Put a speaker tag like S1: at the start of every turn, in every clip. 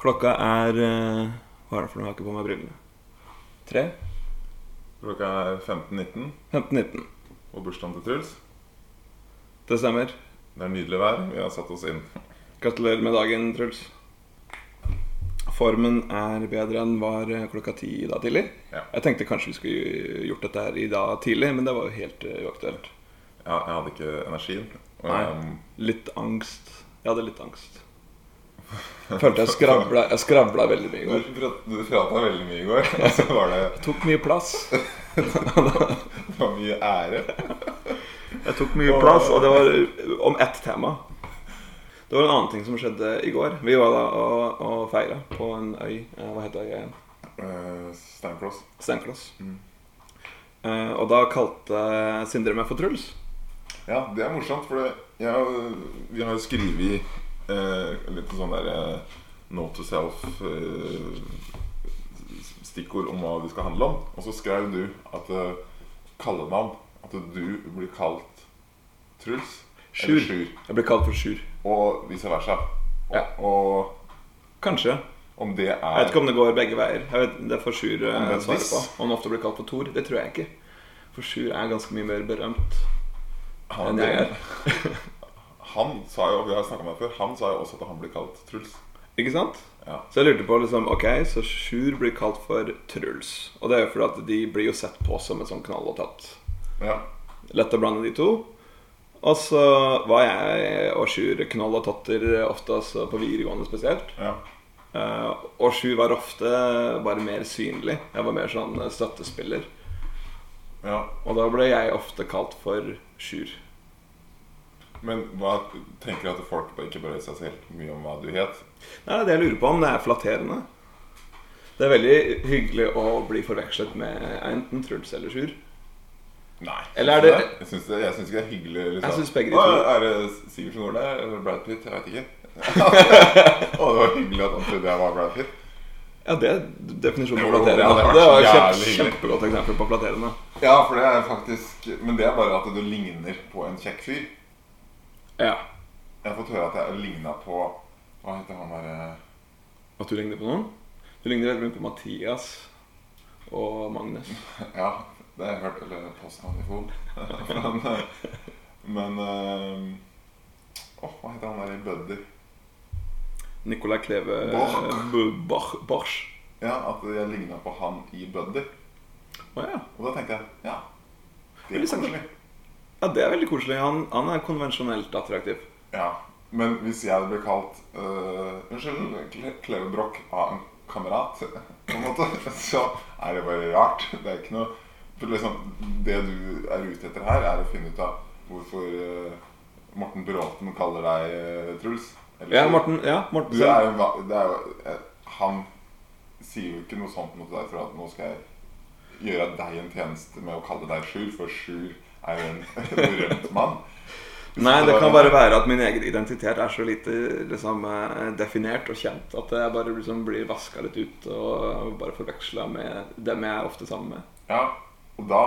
S1: Klokka er eh, Hva er det for noe? Jeg har ikke på meg brillene. Tre?
S2: Klokka er 15.19,
S1: 15.19.
S2: og bursdagen til Truls.
S1: Det stemmer.
S2: Det er nydelig vær. Vi har satt oss inn.
S1: Gratulerer med dagen, Truls. Formen er bedre enn var eh, klokka ti i dag tidlig.
S2: Ja.
S1: Jeg tenkte kanskje vi skulle gjort dette her i dag tidlig, men det var jo helt eh, uaktuelt.
S2: Jeg, jeg hadde ikke energien. Ehm, Og
S1: Nei.
S2: jeg-
S1: Litt angst. Jeg hadde litt angst. Følte jeg skravla, jeg skravla veldig mye i
S2: Du,
S1: går.
S2: prat- du prata veldig mye i går. Og så var det,
S1: Tok mye plass.
S2: det var mye ære.
S1: Jeg tok mye plass, og det var eh, om ett tema. Det var en annen ting som skjedde i går. Vi var da og, og feira på en øy. Eh, Hva heter øya igjen?
S2: Eh, Steinkloss.
S1: Steinkloss.
S2: Mm.
S1: Eh, og da kalte Sindre meg for Truls.
S2: Ja, det er morsomt, for det, jeg, har- vi har jo skrevet eh, litt sånn der eh, note to self-stikkord om hva det skal handle om. Og så skrev du at eh, kallenavn At du blir kalt Truls. eller
S1: Sjur. Jeg ble kalt for Sjur.
S2: Og vice versa. Og,
S1: Ja.
S2: og
S1: Kanskje.
S2: om det er
S1: Jeg vet ikke om det går begge veier. Jeg vet, det får Sjur eh,
S2: Men
S1: svare
S2: hvis-
S1: på. Om han ofte blir kalt for Thor. Det tror jeg ikke. For Sjur er ganske mye mer berømt
S2: han,
S1: enn jeg er.
S2: han sa jo, vi har snakket om det før, han sa jo også at han blir kalt Truls.
S1: Ikke sant?
S2: Ja.
S1: Så jeg lurte på liksom, Ok, så Sjur blir kalt for Truls. Og det er jo fordi at de blir jo sett på som en sånn knall og tatt.
S2: Ja.
S1: Lett å blande de to. Og så var jeg og Sjur knall og totter ofte, altså på videregående spesielt.
S2: ja.
S1: Eh, og Sjur var ofte bare mer synlig. Jeg var mer sånn støttespiller.
S2: ja.
S1: Og da ble jeg ofte kalt for Sjur.
S2: Men hva tenker du at folk bør ikke bør seg selv mye om hva du het?
S1: Nei, det jeg lurer på om det er flatterende. Det er veldig hyggelig å bli forvekslet med enten Truls eller Sjur.
S2: Nei.
S1: Eller er det-
S2: synes du Jeg syns, det, jeg syns ikke det er hyggelig. Liksom.
S1: Jeg syns begge de
S2: Å,
S1: to.
S2: Er det Sivertsen Nordli eller Brad Pitt? Jeg veit ikke. Å, det var hyggelig at han trodde jeg var Brad Pitt.
S1: Ja, det er definisjonen på
S2: Jo, det
S1: flatterende.
S2: hadde vært
S1: Det var et
S2: jævlig
S1: kjempe,
S2: hyggelig.
S1: kjempegodt eksempel på flatterende.
S2: Ja, for det er faktisk Men det er bare at du ligner på en kjekk fyr.
S1: Ja.
S2: Jeg har fått høre at jeg ligna på Hva heter han eh, derre
S1: At du ligner på noen? Du ligner veldig mye på Mathias og Magnus.
S2: Ja, det har jeg hørt. Eller postnavnifon. men eh, men eh, åh, Hva heter han der i Buddy?
S1: Nicolai Kleve eh,
S2: Borch.
S1: Bu- Borch. Borch.
S2: Ja, At jeg ligna på han i Buddy.
S1: Å ja.
S2: Og da tenkte jeg ja, det
S1: Veldig
S2: er
S1: sant.
S2: koselig.
S1: ja. Det er veldig koselig. Han, han er konvensjonelt attraktiv.
S2: Ja, Men hvis jeg ble kalt øh, Unnskyld, Cle- Klevebrok av en kamerat, på en måte, så er det bare rart. Det er ikke noe for liksom, Det du er ute etter her, er å finne ut av hvorfor øh, Morten Bråten kaller deg øh, Truls. Eller-
S1: Ja, Morten. Ja, Morten
S2: Du er jo, va- det er jo eh, Han sier jo ikke noe sånt mot deg for at nå skal jeg gjøre deg en tjeneste med å kalle deg Sjur, for Sjur er jo en berømt mann.
S1: Nei, det kan bare være at min egen identitet er så lite liksom, eh, definert og kjent at jeg bare liksom, blir vaska litt ut og bare forveksla med dem jeg er ofte sammen med.
S2: Ja, og da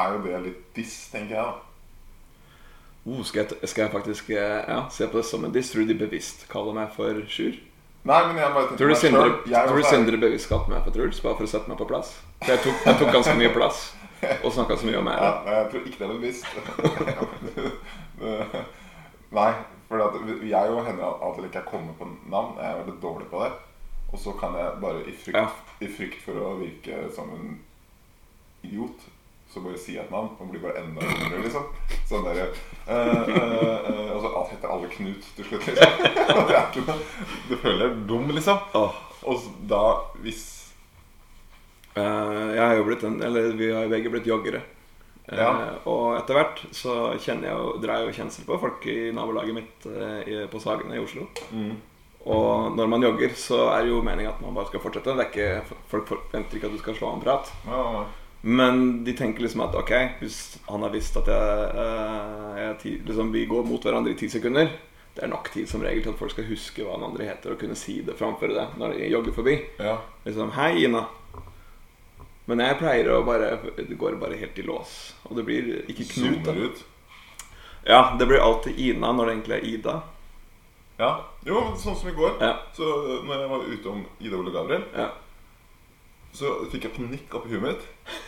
S2: er jo det litt diss, tenker jeg da.
S1: Oh, skal, jeg, t- skal jeg faktisk eh, ja, se på det som en diss? Tror du de bevisst kaller meg for Sjur?
S2: Nei, men jeg bare
S1: Tror
S2: tenker
S1: du Sindre,
S2: selv, jeg
S1: tror du
S2: også er-
S1: Sindre bevisst kalte meg for Truls bare for å sette meg på plass? For jeg tok, jeg tok ganske mye plass og snakka så mye om
S2: Ja,
S1: ære.
S2: nei, jeg tror ikke det er bevisst. Det- nei, for at vi- jeg og Henrik av og til ikke er kommet på navn. Jeg er veldig dårlig på det. Og så kan jeg bare i frykt,
S1: Ja.
S2: i frykt for å virke som en idiot, så bare si et navn og blir bare enda dummere, liksom. Sånn der, eh, eh, eh, Og så heter alle Knut til slutt, liksom. Det er ikke noe Du føler deg dum, liksom.
S1: Åh,
S2: Og s- da, hvis
S1: eh, jeg har jo blitt en, eller vi har begge blitt joggere. Eh,
S2: Ja.
S1: Og etter hvert så kjenner jeg jo, dreier jeg jo kjensel på folk i nabolaget mitt eh, i- på Sagene i Oslo.
S2: Mm.
S1: Og når man jogger, så er det jo meningen at man bare skal fortsette. Det er ikke, folk forventer ikke at du skal slå av en prat.
S2: ja,
S1: Men de tenker liksom at ok, hvis han har visst at jeg, eh, jeg ti, liksom, vi går mot hverandre i ti sekunder Det er nok tid som regel til at folk skal huske hva den andre heter, og kunne si det framfor det når de jogger forbi.
S2: ja.
S1: Liksom 'Hei, Ina'. Men jeg pleier å bare Det går bare helt i lås. Og det blir ikke Knut.
S2: Zoomer
S1: Da.
S2: ut.
S1: Ja, det blir alltid Ina når det egentlig er Ida.
S2: Ja. Jo, men sånn som i går.
S1: Ja.
S2: Så øh, når jeg var ute om Ida Ole Gabriel,
S1: Ja.
S2: så fikk jeg panikk oppi huet mitt.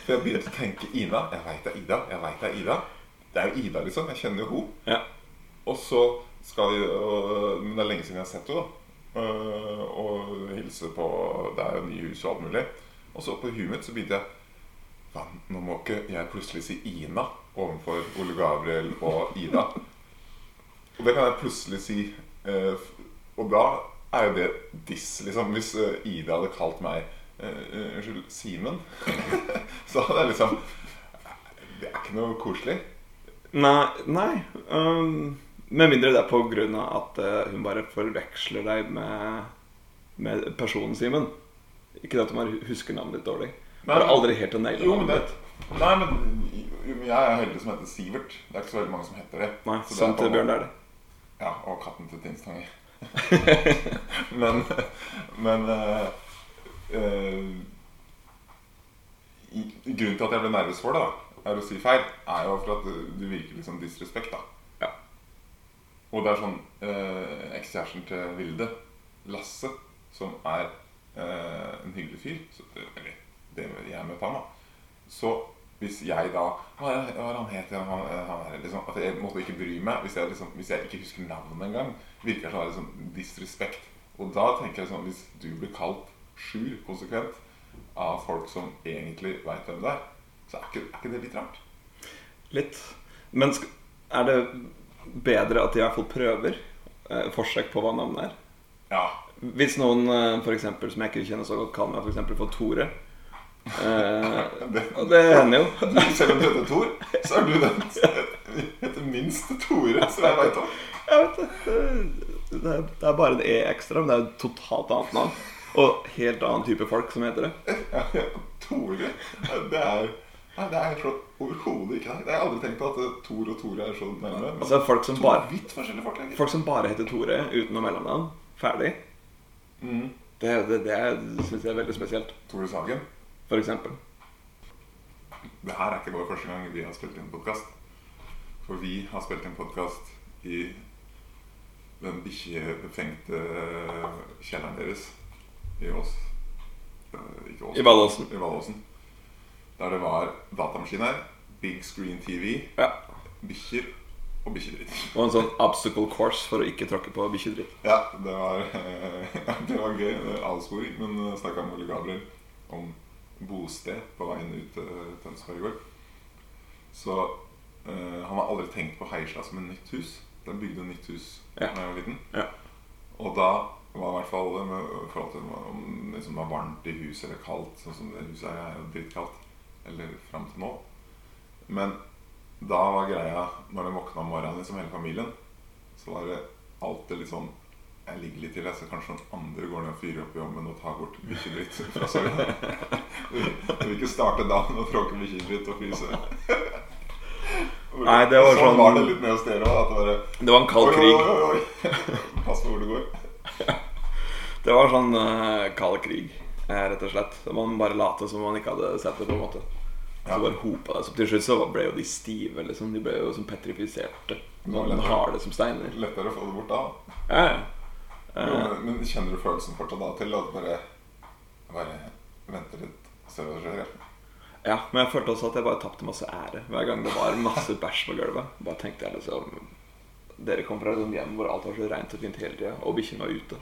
S2: For jeg begynte å tenke Ida. Jeg veit det er Ida. Jeg vet det er Ida. Det er jo Ida, liksom. Jeg kjenner jo henne.
S1: Ja.
S2: Og så skal vi øh, Men det er lenge siden jeg har sett henne, da. Øh, og hilse på Det er jo nye hus og alt mulig. Og så på huet mitt så begynte jeg Faen, nå må ikke jeg plutselig si Ina overfor Ole Gabriel og Ida. Og det kan jeg plutselig si. eh, f- og da er jo det diss, liksom. Hvis eh, Ida hadde kalt meg eh, eh, Unnskyld, Simen. så hadde jeg liksom Det er ikke noe koselig.
S1: Nei. nei øhm, med mindre det er på grunn av at eh, hun bare forveksler deg med, med personen Simen. Ikke at hun bare husker navnet ditt dårlig.
S2: Nei.
S1: Bare aldri helt å naile
S2: Jo, men
S1: navnet
S2: det
S1: ditt.
S2: Nei, men jo, men jeg er heldig som heter Sivert. Det er ikke så veldig mange som heter det.
S1: Nei,
S2: Så det er
S1: sant
S2: på-
S1: til Bjørn, det er det.
S2: Ja, og katten til Tinstangi. men men eh, eh, i- Grunnen til at jeg ble nervøs for det, da, er å si feil, er jo for at det- det virker litt som disrespekt. da.
S1: Ja.
S2: Og det er sånn eh, Ekskjæresten til Vilde, Lasse, som er eh, en hyggelig fyr så, Eller det jeg møtte han, da. Så hvis jeg da Hva er hva er han het igjen? Han, han er liksom, at jeg måtte ikke bry meg. Hvis jeg, liksom, hvis jeg ikke husker navnet engang, virker det som det er liksom disrespekt. Og da tenker jeg sånn Hvis du blir kalt Sjur konsekvent av folk som egentlig veit hvem det er, så er ikke, er ikke det litt rart?
S1: Litt. Men sk er det bedre at de i hvert fall prøver? Eh, forsøk på hva navnet er?
S2: Ja.
S1: Hvis noen eh, for eksempel, som jeg ikke kjenner så godt, kaller meg for, eksempel for Tore eh,
S2: Det,
S1: og Det hender jo.
S2: selv om du heter Tor, så er du den som heter minst Tore som jeg veit om.
S1: Jeg vet det. Det er, det er bare en E ekstra, men det er et totalt annet navn. Og helt annen type folk som heter det.
S2: Ja, ja, Tore Det er, nei, det er så overhodet ikke det. Jeg har aldri tenkt på at eh, Tor og Tore er så nærme. Men
S1: Altså folk som
S2: to
S1: bare,
S2: vidt forskjellige folk. egentlig.
S1: folk som bare heter Tore uten noe mellomnavn. Ferdig.
S2: Mm.
S1: Det, det, det syns jeg er veldig spesielt.
S2: Tore Sagen.
S1: For eksempel.
S2: Det her er ikke vår første gang vi har spilt inn podkast. For vi har spilt inn podkast i den bikkjebefengte kjelleren deres i Ås. Eh, Ikke Ås.
S1: I Vallåsen.
S2: I Vallåsen. Der det var datamaskin her, big screen TV,
S1: Ja.
S2: bikkjer og bikkjedritt.
S1: Og en sånn obstacle course for å ikke tråkke på bikkjedritt.
S2: Ja, det var, det var gøy. det var Avsporing. Men jeg snakka med Ole Gabriel om bosted på veien ut til Tønsberg i går. Så eh, han har aldri tenkt på Heisla som et nytt hus. De bygde et nytt hus da
S1: Ja.
S2: jeg var liten.
S1: Ja.
S2: Og da var i hvert fall det med forhold til om det liksom var varmt i huset eller kaldt, sånn som det huset her er jo drittkaldt. Eller fram til nå. Men da var greia, når de våkna om morgenen, liksom hele familien, så var det alltid litt sånn Jeg ligger litt til, jeg, så kanskje noen andre går ned og fyrer opp jobben og tar bort bikkjedritt fra soya. Du du vil ikke starte dagen og tråkke bikkjedritt og fryse.
S1: Nei, det var sånn-
S2: Sånn var det litt med hos dere òg. At det bare
S1: Det var en kald
S2: Oi,
S1: krig.
S2: oi, oi, oi. Pass på hvor du går.
S1: Det var sånn eh, kald krig, eh, rett og slett. Man bare late som man ikke hadde sett det, på en måte.
S2: Ja.
S1: Så bare hopa det seg opp. Til slutt så ble jo de stive, liksom. De ble jo som petrifiserte.
S2: var
S1: Sånn
S2: lettere.
S1: harde som steiner.
S2: Lettere å få det bort da.
S1: Ja, ja.
S2: Jo,
S1: Eh,
S2: men, men kjenner du følelsen fortsatt da til at bare Bare venter litt, ser hva som skjer? ja?
S1: ja, men jeg følte også at jeg bare tapte masse ære hver gang det var masse bæsj på gulvet. Bare tenkte jeg liksom Dere kom fra et sånt hjem hvor alt var så rent og fint hele tida, og bikkjen var ute.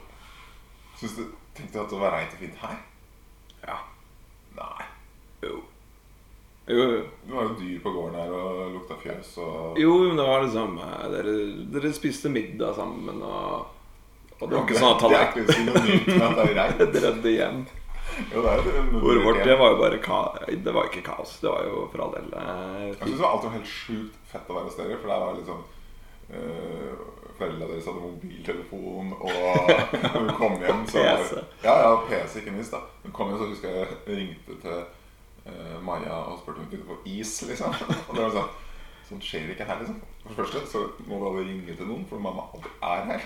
S2: Syns du Tenkte du at det var reint og fint her?
S1: Ja.
S2: Nei.
S1: Jo. Jo, jo.
S2: Det var jo dyr på gården her og lukta fjøs og
S1: Jo, men det var liksom eh, Dere, dere spiste middag sammen og Og det var ikke sånn at
S2: Det er
S1: tallerkenen
S2: ikke synonymt med at det er reint.
S1: rødde igjen.
S2: Jo, det er jo det, men-
S1: Ordet vårt det var jo bare ka Det var ikke kaos. Det var jo for all del eh,
S2: Jeg syns det var alltid helt sjukt fett å være hos dere, for der var det litt sånn øh, Foreldra deres hadde mobiltelefon, og når vi kom hjem, så var det-
S1: PC.
S2: Ja, ja, PC ikke minst. da Når vi kom hjem, så husker jeg jeg ringte til øh, Maja og spurte om hun kunne få is, liksom. Og det var sånn Sånt skjer ikke her, liksom. For det første så må du aldri ringe til noen, for mamma aldri er her.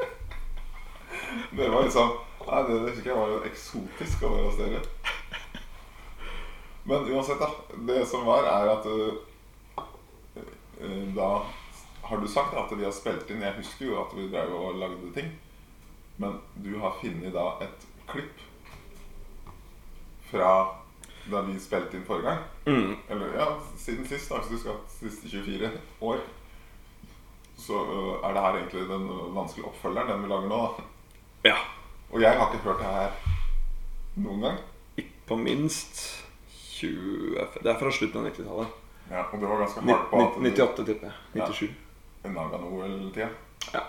S2: dere var liksom Nei, det husker jeg var eksotisk å være hos dere. eh, Men uansett, da. Det som var, er at øh, øh, da har du sagt at vi har spilt inn Jeg husker jo at vi drev og lagde ting. Men du har funnet da et klipp fra da vi spilte inn forrige gang.
S1: Mm.
S2: Eller ja, siden sist, da, hvis du skal siste 24 år. Så øh, er det her egentlig den øh, vanskelige oppfølgeren, den vi lager nå. da.
S1: Ja.
S2: Og jeg har ikke hørt det her noen gang.
S1: På minst 20 Det er fra slutten av 90-tallet.
S2: Ja, og det var ganske
S1: Ni-
S2: hardt på at
S1: ni- 98, tipper jeg.
S2: Ja.
S1: 97.
S2: du Nagano-tida.
S1: Ja.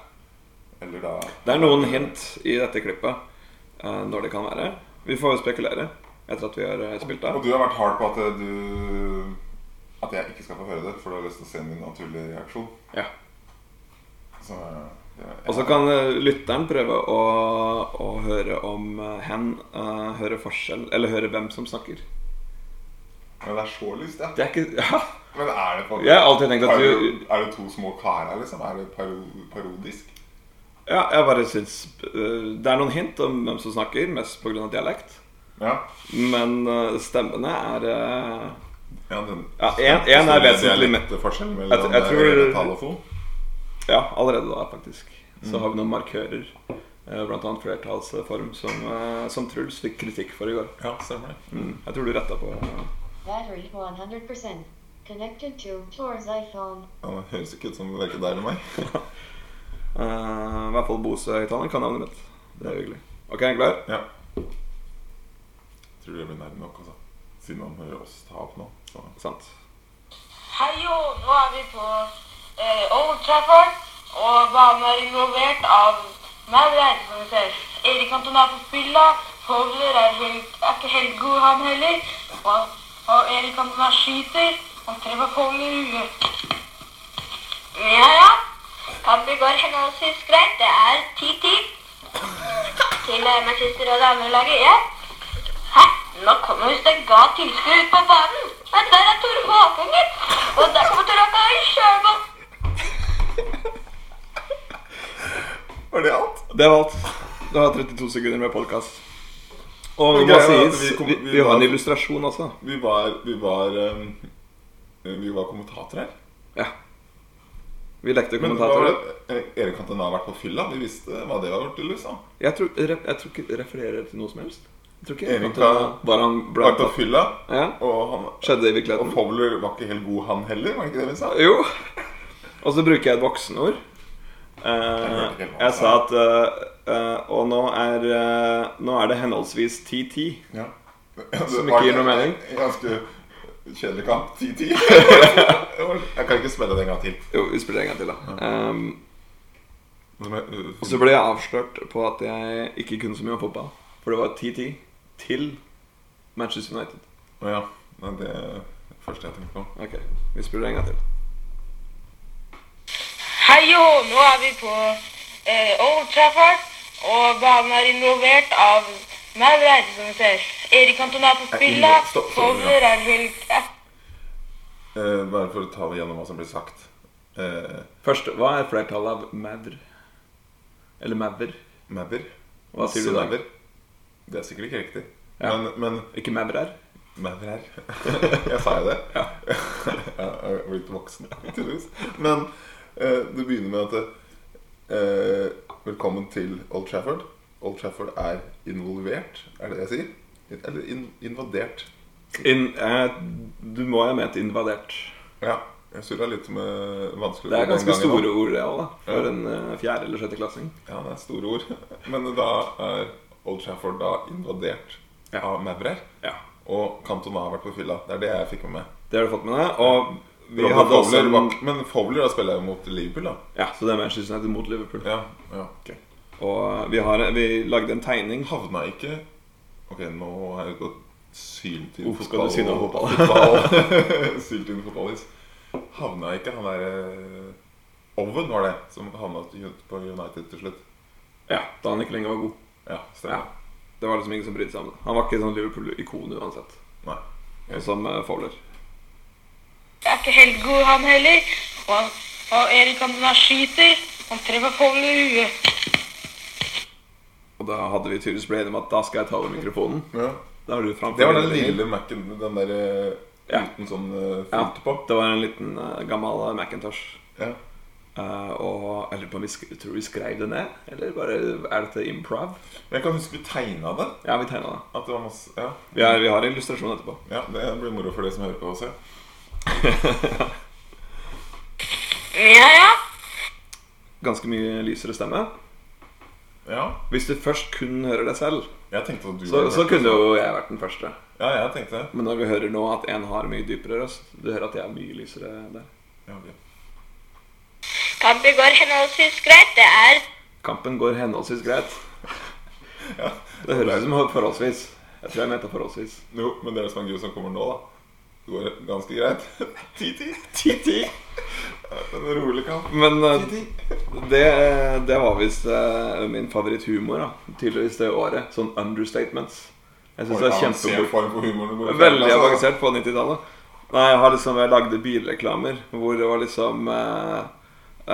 S2: Eller da
S1: Det er noen hint i dette klippet eh, når det kan være. Vi får spekulere etter at vi har eh, spilt
S2: Og
S1: av.
S2: du har vært hard på at eh, du At jeg ikke skal få høre det, for du har lyst til å se min naturlige reaksjon.
S1: Ja.
S2: Så, eh, det,
S1: Og så kan eh, lytteren prøve å, å høre om eh, hen eh, høre forskjell Eller høre hvem som snakker.
S2: Men det er så lyst, ja.
S1: Det er ikke Ja!
S2: Men er det på
S1: Jeg har alltid tenkt at
S2: paro-
S1: du
S2: Er det to små karer, liksom? Er det paro parodisk?
S1: Ja, jeg bare syns eh, Det er noen hint om hvem som snakker, mest pga. dialekt.
S2: Ja.
S1: Men eh, stemmene er eh,
S2: ja, den,
S1: Ja, en- en er vesentlig me-
S2: dialektforskjell mellom
S1: Jeg- jeg tror-
S2: eh, tall og fo.
S1: Ja, allerede da, faktisk. Så
S2: Mm.
S1: har vi noen markører. eh, Blant annet flertallsform, som, eh, som Truls fikk kritikk for i går.
S2: Ja, stemmer det.
S1: Jeg tror du retta på
S3: Battery 100%. Connected to Tor's iPhone.
S2: Ja, det høres ikke ut som verken deg eller meg.
S1: Eh, I hvert fall Bose-høyttaleren kan navnet mitt. Det er hyggelig. Ok, er du klar?
S2: Ja. Tror det blir nærme nok, altså. Siden han hører oss ta opp nå. Så.
S1: Sant.
S4: Hei jo, nå er vi på eh, Old Trafford, og banen er involvert av Maud Reite, som vi sånn ser. Erik Anton er på fylla, Fowler er, helt, er ikke helt god han heller, og, og Erik Anton er skyter, han treffer Fowler i huet. Ja, ja. Kampen går henholdsvis greit, det er 10-10 til eh, Manchester og det andre laget, ja. Hæ? Nå kommer visst en gal tilskuer ut på banen. Men der er Tore Håkanger. Og der kommer Tore Håkanger sjøl på.
S2: Var det alt?
S1: Det var alt. Du har 32 sekunder med podkast. Og vi
S2: Men
S1: må
S2: greia er at
S1: sies
S2: vi kom-
S1: vi,
S2: vi
S1: vi har en
S2: var-
S1: illustrasjon også.
S2: Vi var Vi var, um, vi var kommentatorer her.
S1: Ja. Vi lekte
S2: Men hva var
S1: kommentatorer.
S2: det eh, Erik Cantona har vært på fylla? Vi visste hva det var gjort til, liksom.
S1: Jeg tror, ref- jeg tror ikke det refererer til noe som helst. Jeg tror ikke
S2: Erik
S1: at det var han
S2: Vært
S1: blant
S2: på fylla,
S1: Ja.
S2: og, han,
S1: Skjedde det i
S2: og
S1: virkeligheten.
S2: Fowler var ikke helt god, han heller, var det ikke det vi sa?
S1: Jo. Og så bruker jeg et voksenord. Eh,
S2: hørte ikke hva han
S1: jeg
S2: sa.
S1: sa at eh, eh, Og nå er, eh, nå er det henholdsvis 10-10.
S2: Ja.
S1: Som
S2: Det var
S1: ikke gir noe mening.
S2: en Ganske kjedelig kamp. 10-10. jeg kan ikke spille det en gang til.
S1: Jo, vi spiller en gang til, da. Ehm,
S2: Men, uh,
S1: Og så ble jeg avslørt på at jeg ikke kunne så mye om fotball. For det var 10-10 til Manchester United.
S2: Å ja. Nei, det er det første jeg tenkte på.
S1: Ok, vi spiller en gang til.
S4: Hei jo, nå er vi på eh, Old Trafford, og banen er involvert av Maud Reite, som vi ser. Erik Anton er på
S2: Er
S4: fylla,
S2: inne- stopp, stopp,
S4: Fowler er vel er
S2: Eh, bare for å ta gjennom hva som blir sagt. Uh,
S1: Først, hva er flertallet av maur? Eller maur?
S2: Maver.
S1: Hva sier du da?
S2: Maver. Det er sikkert ikke riktig.
S1: Ja.
S2: Men, men
S1: Ikke maurer?
S2: Mener her. Jeg sa jo det. Ja. Jeg er blitt voksen, tydeligvis. Men eh, det begynner med at eh, Velkommen til Old Trafford. Old Trafford er involvert, er det det jeg sier? Eller in invadert.
S1: In, eh, du må ha ment invadert.
S2: Ja. Jeg surra litt eh, med vanskelige
S1: Det er
S2: ord den
S1: ganske
S2: gangen
S1: store
S2: også.
S1: ord, det òg, da. For en eh, fjerde- eller sjetteklassing.
S2: Ja, det er store ord. Men da er Old Trafford da invadert
S1: Ja.
S2: av Maurer.
S1: Ja.
S2: Og Cantona har vært på fylla. Det er det jeg fikk med meg.
S1: Det har du fått med deg. Og vi
S2: Robert
S1: hadde også
S2: Fowler
S1: en,
S2: var- Men Fowler da spiller jo mot Liverpool, da.
S1: Ja, så det er Manchester United mot Liverpool.
S2: Ja, ja.
S1: Og eh, vi, har, vi lagde en tegning.
S2: Havna ikke Ok, nå er det gått sylt inn
S1: Uff, skal du si noe om fotball?
S2: fotball. sylt inn fotballis. Havna ikke han derre Oven, var det, som havna på United til slutt.
S1: Ja, Da han ikke lenger var god.
S2: Ja, stemmer.
S1: Det var liksom ingen som brydde seg om det. Han var ikke sånn Liverpool-ikon uansett.
S2: Nei.
S1: Sånn Som eh, Fowler.
S4: er ikke helt god, han heller. Og, og Erik Anton er skyter, han treffer Fowler i huet.
S1: Og da hadde vi tydeligvis blitt enige om at da skal jeg ta over mikrofonen.
S2: Ja.
S1: Da har du framfor
S2: Det var den
S1: deg.
S2: lille Mac-en, den der eh,
S1: Ja.
S2: uten sånn uh,
S1: ja,
S2: filt på.
S1: Det var en liten eh, gammel eh, Macintosh.
S2: Ja.
S1: Eh, og jeg lurer på om vi sk tror vi skrev det ned, eller bare er dette improv?
S2: Jeg kan huske du tegna det.
S1: Ja, vi tegna det.
S2: At det var masse Ja,
S1: Vi har, vi har illustrasjon etterpå.
S2: ja det blir moro for de som hører på også.
S4: Ja, ja.
S1: Ganske mye lysere stemme.
S2: Ja.
S1: Hvis du først kun hører deg selv,
S2: Jeg tenkte at du
S1: så,
S2: hadde
S1: så
S2: hørt
S1: kunne
S2: det.
S1: jo jeg vært den første.
S2: Ja, jeg tenkte det.
S1: Men når vi hører nå at en har mye dypere røst Du hører at jeg er mye lysere der.
S2: Ja, ok.
S4: Kampen går henholdsvis greit. Det er
S1: Kampen går henholdsvis greit.
S2: Ja.
S1: Det høres ut som forholdsvis. Jeg tror jeg mente forholdsvis.
S2: Jo, men det er det som er gøy som kommer nå, da. Det går ganske greit. 10-10.
S1: 10-10.
S2: En rolig kamp.
S1: Men eh,
S2: 10-10.
S1: det, det var visst eh, min favoritthumor da, tidligvis det året. Sånn understatements. Jeg syns det er
S2: Avansert
S1: kjempemorsomt.
S2: form for humoren. du går i
S1: Veldig
S2: fjellet, altså.
S1: avansert på 90-tallet. Nei, jeg har liksom jeg lagde bilreklamer hvor det var liksom eh,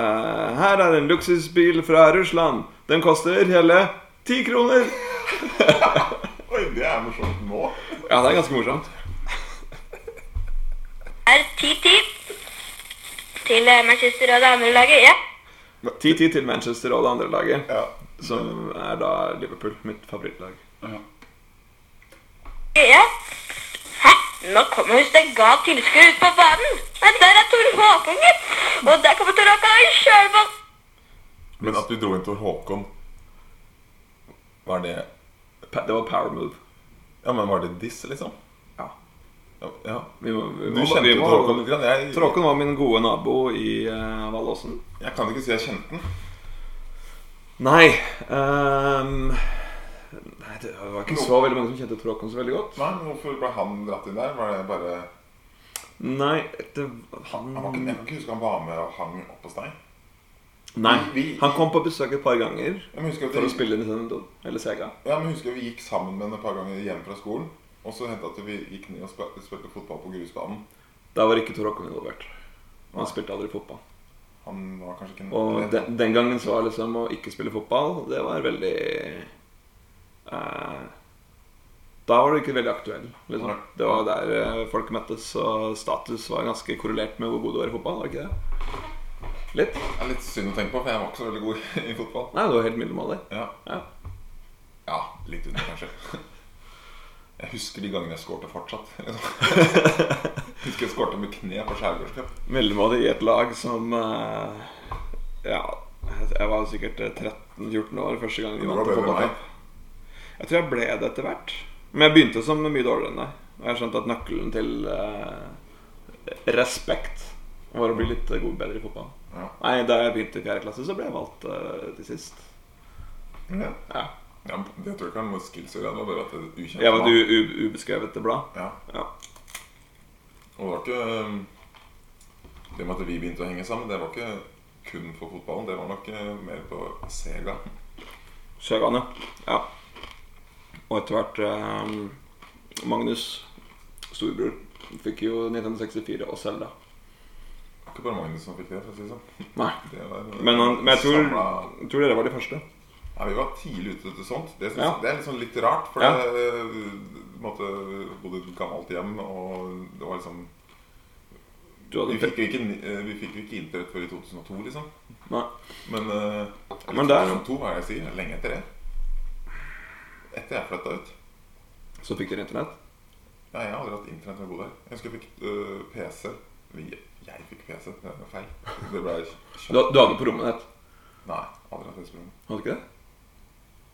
S1: eh, Her er en luksusbil fra Russland. Den koster hele ti kroner.
S2: Oi, det er morsomt nå.
S1: Ja, det er ganske morsomt.
S4: er 10-10 til eh, Manchester og det andre laget. Ja.
S1: 10-10 til Manchester og det andre laget,
S2: Ja.
S1: som er da Liverpool. Mitt favorittlag.
S4: ja. Hæ? Nå kommer visst en gal tilskuer ut på banen. Men der er Tor Håkon, gitt. Og der kommer Tor Håkon sjølmål.
S2: Men at vi dro inn Tor Håkon Var det
S1: Pa- Det var power move.
S2: Ja, men var det diss, liksom?
S1: Ja.
S2: Ja, Ja.
S1: Vi må, vi
S2: Du
S1: må,
S2: kjente
S1: vi
S2: jo
S1: må,
S2: Tor Håkon litt? grann.
S1: Tor
S2: Jeg,
S1: Håkon var min gode nabo i eh, Vallåsen.
S2: jeg kan ikke si jeg kjente den.
S1: Nei ehm, Nei, det var ikke så veldig mange som kjente Tor Håkon så veldig godt.
S2: Nei, men Hvorfor ble han dratt inn der? Var det bare
S1: Nei, det, han
S2: han var ikke, Jeg kan ikke huske han var med og hang opp hos deg.
S1: Nei,
S2: vi-
S1: han kom på besøk et par ganger
S2: Jeg må huske at
S1: for å
S2: vi,
S1: spille Nintendo eller Sega.
S2: ja, men jeg husker at vi gikk sammen med henne et par ganger hjem fra skolen. Og så hendte det at vi gikk ned og spil- spilte fotball på grusbanen.
S1: Da var ikke Tor Håkon involvert. Han spilte aldri fotball.
S2: Han var kanskje ikke
S1: Og
S2: rett-
S1: den, den gangen så var liksom å ikke spille fotball, det var veldig eh, Da var du ikke veldig aktuell. Liksom.
S2: Nei.
S1: Det var der eh, folk møttes, og status var ganske korrelert med hvor god du var i fotball. var det ikke det? Litt?
S2: Det er litt synd å tenke på, for jeg var ikke så veldig god i fotball.
S1: Nei, du var helt middelmådig.
S2: Ja,
S1: Ja.
S2: ja litt under, kanskje. Jeg husker de gangene jeg skårte fortsatt. Liksom. husker jeg skårte med kne på skjærgårdscup.
S1: Middelmådig i et lag som eh, Ja, jeg var sikkert eh, 13-14 år første gang vi
S2: Du
S1: vant en
S2: var bedre enn meg.
S1: fotballkamp. Jeg tror jeg ble det etter hvert. Men jeg begynte som mye dårligere enn deg. Og jeg har skjønt at nøkkelen til eh, respekt var å bli litt eh, god, bedre i fotball.
S2: Ja.
S1: Nei, Da jeg begynte i fjerde klasse, så ble jeg valgt eh, til sist.
S2: Ja.
S1: Ja.
S2: Ja, men det tror jeg ikke han var skillsur i, det var bare at det er ukjent.
S1: Jeg var
S2: mann.
S1: et u- u- ubeskrevete blad.
S2: Ja.
S1: Ja.
S2: Og det var ikke um, Det med at vi begynte å henge sammen, det var ikke kun for fotballen. Det var nok eh, mer på Sega.
S1: Sjøgane. Ja. Og etter hvert eh, Magnus, storebror, fikk jo 1964 og Selda.
S2: Det var ikke bare Magnus som fikk det, for å si det sånn.
S1: Nei.
S2: Det var,
S1: Men, han, men jeg tror,
S2: samla-
S1: jeg tror dere var de første.
S2: Ja, Vi var tidlig ute til sånt. Det, synes,
S1: Ja.
S2: det er liksom litt rart. For
S1: Ja.
S2: det eh, måtte bodde i et gammelt hjem, og det var liksom
S1: Du hadde
S2: Vi fikk jo ikke, eh, vi fikk jo ikke internett før i 2002, liksom.
S1: Nei.
S2: Men, eh, eller
S1: Men der-
S2: 2002, hva er det jeg sier? Lenge etter det. Etter jeg flytta ut.
S1: Så fikk dere internett.
S2: Ja, jeg har aldri hatt internett når jeg bodde her. Jeg husker jeg fikk eh, PC. Vi, jeg fikk PC, det er feil. Det ble
S1: Du,
S2: kjøpt.
S1: du hadde på rommet ditt?
S2: Nei, aldri hatt PC-rom.
S1: Hadde du ikke det?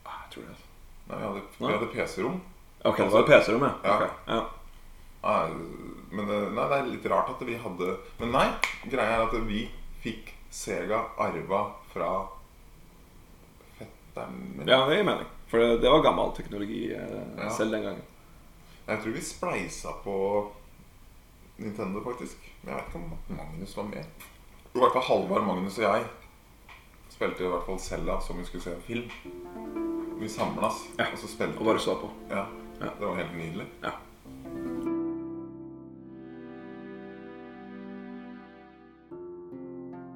S1: Ah, Jeg tror det. altså.
S2: Nei, vi hadde, vi
S1: Nei.
S2: hadde PC-rom.
S1: Ok, det var PC-rom, ja.
S2: Ja.
S1: Ok, ja.
S2: Nei, Men eh, nei, det er litt rart at vi hadde Men nei, greia er at vi fikk Sega arva fra fetteren min.
S1: ja, det gir mening. For det, det var gammel teknologi eh,
S2: Ja.
S1: selv den gangen.
S2: Jeg tror vi spleisa på Nintendo, faktisk. Men Jeg vet ikke om Magnus var med. I hvert fall Halvard, Magnus og jeg spilte i hvert fall Selda som vi skulle se en film. Vi samlas,
S1: Ja,
S2: og så spilte
S1: Og bare så på.
S2: Ja.
S1: Ja.
S2: Det var helt nydelig.
S1: Ja.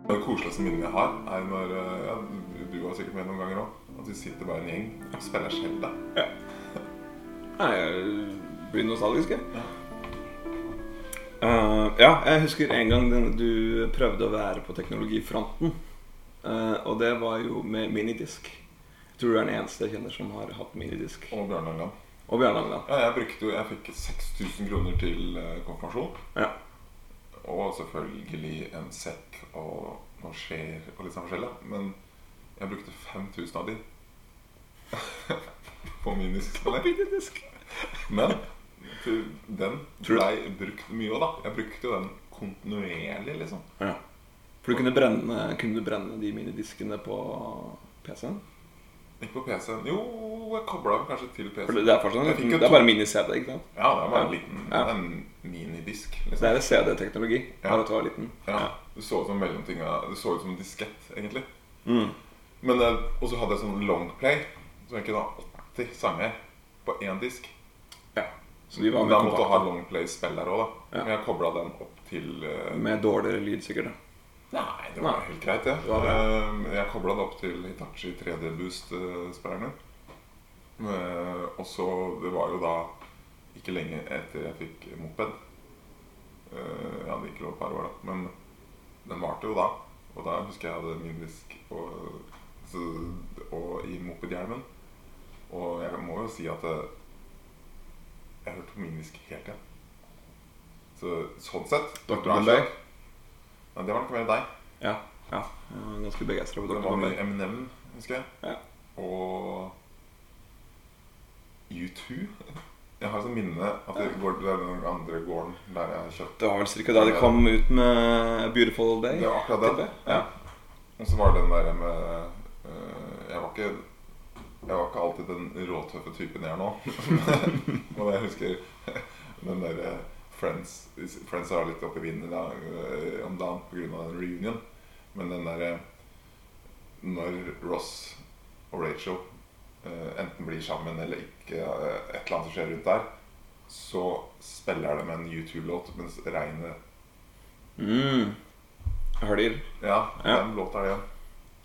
S2: Det koseligste minnet jeg har, er når eh, ja, Du du var sikkert med noen ganger òg. At vi sitter bare en gjeng og spiller Selda.
S1: Nei, jeg blir nostalgisk, jeg. Eh, ja, jeg husker en gang den- du prøvde å være på teknologifronten. Eh, og det var jo med minidisk. Jeg tror du er den eneste jeg kjenner som har hatt minidisk.
S2: Og Bjørnar Land.
S1: Og Bjarne Langeland.
S2: Ja, jeg brukte jo Jeg fikk 6000 kroner til eh, konfirmasjon.
S1: Ja.
S2: Og selvfølgelig en sekk og noen skjer og litt sånn forskjellig. da. Men jeg brukte 5000 av de på miniskspillet.
S1: Minidisk.
S2: Men til den
S1: Tror du-
S2: blei brukt mye òg, da. Jeg brukte jo den kontinuerlig, liksom.
S1: Ja. For du kunne brenne, kunne du brenne de minidiskene på PC-en?
S2: Ikke på PC-en. Jo, jeg kobla kanskje til
S1: For det
S2: PC-en.
S1: det er fortsatt en
S2: Jeg fikk
S1: liten,
S2: jo
S1: det er
S2: to-
S1: bare mini-CD, ikke sant?
S2: Ja, det var en liten
S1: Ja.
S2: en minidisk.
S1: Det
S2: liksom.
S1: er CD-teknologi.
S2: Ja.
S1: Bare at det var liten.
S2: Ja, Det så ut som mellomtinga Det så ut som en diskett, egentlig.
S1: Mm.
S2: Men, eh, og så hadde jeg sånn longplay, så jeg kunne ha 80 sanger på én disk.
S1: Ja. Så de var
S2: Men
S1: med
S2: da måtte jeg ha
S1: kompakt.
S2: longplay-spill der òg, da.
S1: Ja.
S2: Men jeg kobla den opp til eh,
S1: Med dårligere lyd, sikkert. da.
S2: Nei, det var
S1: Nei.
S2: helt greit, det.
S1: Det var bra.
S2: Eh, Jeg kobla det opp til Hitachi 3D Boost-spillerne. Eh, Og så Det var jo da ikke lenge etter jeg fikk moped. Eh, Jeg hadde ikke lov et par år, da. Men den varte jo da. Og da husker jeg jeg hadde min disk og, så- og i mopedhjelmen. Og jeg må jo si at eh, jeg hørte på min disk helt igjen. Så sånn sett
S1: Dr.
S2: bra
S1: Bombay?
S2: kjøp. Nei, det var nok mer deg.
S1: Ja. ja. Jeg var ganske begeistra for
S2: Det var med
S1: dere.
S2: Eminem, husker jeg.
S1: Ja.
S2: Og U2. Jeg har sånn minne at det går det er den andre gården der jeg har kjøpt.
S1: Det var vel cirka da de kom ut med A 'Beautiful Day'.
S2: Det var akkurat den.
S1: Ja.
S2: Og så var det den der med eh, Jeg var ikke Jeg var ikke alltid den råtøffe typen jeg er nå. Men jeg husker den derre Friends Friends var litt oppe i vinden da, eh, om dagen pga. den reunion. Men den derre Når Ross og Rachel eh, enten blir sammen eller ikke, eh, et eller annet som skjer rundt der, så spiller de en U2-låt mens regnet
S1: Mm. Høljer.
S2: Ja,
S1: Ja.
S2: den låta er det.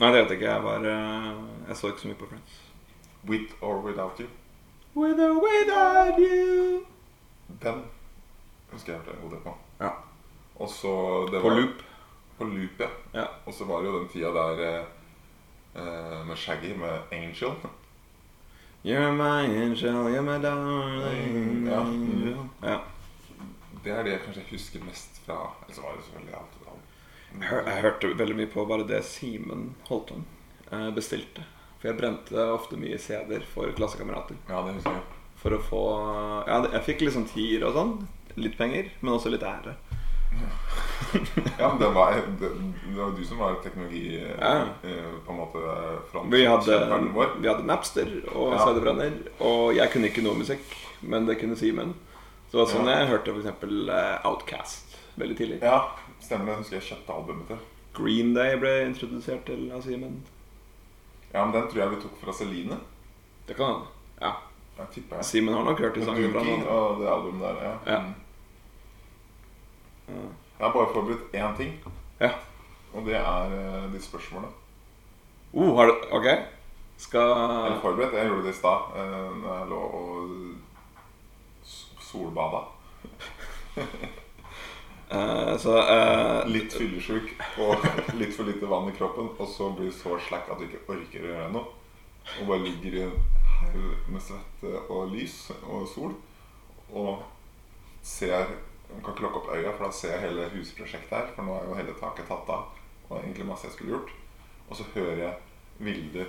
S1: Nei, det vet jeg ikke. Jeg var eh, Jeg så ikke så mye på Friends.
S2: With or without you.
S1: With or without you
S2: Den husker jeg hørte en god del på.
S1: Ja.
S2: Og så det
S1: På
S2: var-
S1: loop.
S2: På loop, ja.
S1: Ja.
S2: Og så var det jo den tida der eh, eh, med Shaggy med Angel.
S1: You're my angel, you're my darling
S2: Ja.
S1: angel. Mm, Ja.
S2: Det er det jeg kanskje husker mest fra Eller så var det selvfølgelig alt det
S1: Jeg hør- Jeg hørte veldig mye på bare det Simen Holton eh, bestilte. For jeg brente ofte mye CD-er for klassekamerater.
S2: Ja, det husker jeg.
S1: For å få Ja, det- jeg fikk liksom tier og sånn. Litt penger, men også litt ære.
S2: Ja, men det var, det, det var du som var teknologi eh,
S1: Ja.
S2: eh, på en måte
S1: Vi hadde,
S2: frontkjemperen vår.
S1: vi hadde Napster og
S2: Ja.
S1: CD-brenner, og jeg kunne ikke noe musikk, men det kunne Simen. Så det var sånn
S2: Ja.
S1: jeg hørte f.eks. Outcast veldig tidlig.
S2: Ja, stemmer det. Husker jeg kjøpte albumet til.
S1: Green Day ble introdusert til av Simen.
S2: Ja, men den tror jeg vi tok fra Celine.
S1: Det kan han. Ja.
S2: Jeg tipper jeg.
S1: Simen har nok hørt de sangene
S2: Med
S1: fra
S2: Dookie
S1: han.
S2: og det albumet der. Ja.
S1: Ja.
S2: Mm.
S1: Ja.
S2: Jeg har bare forberedt én ting,
S1: Ja.
S2: og det er eh, de spørsmålene.
S1: Oh, har du Ok.
S2: Eller
S1: Skal
S2: forberedt. Jeg gjorde det i stad eh, når jeg lå og s- solbada.
S1: eh, Så eh,
S2: Litt fyllesyk og litt for lite vann i kroppen, og så blir du så slack at du ikke orker å gjøre noe. Og bare ligger i en haug med svette og lys og sol og ser Man kan ikke lukke opp øya, for da ser jeg hele husprosjektet her. For nå er jo hele taket tatt av. Og egentlig masse jeg skulle gjort. Og så hører jeg Vilde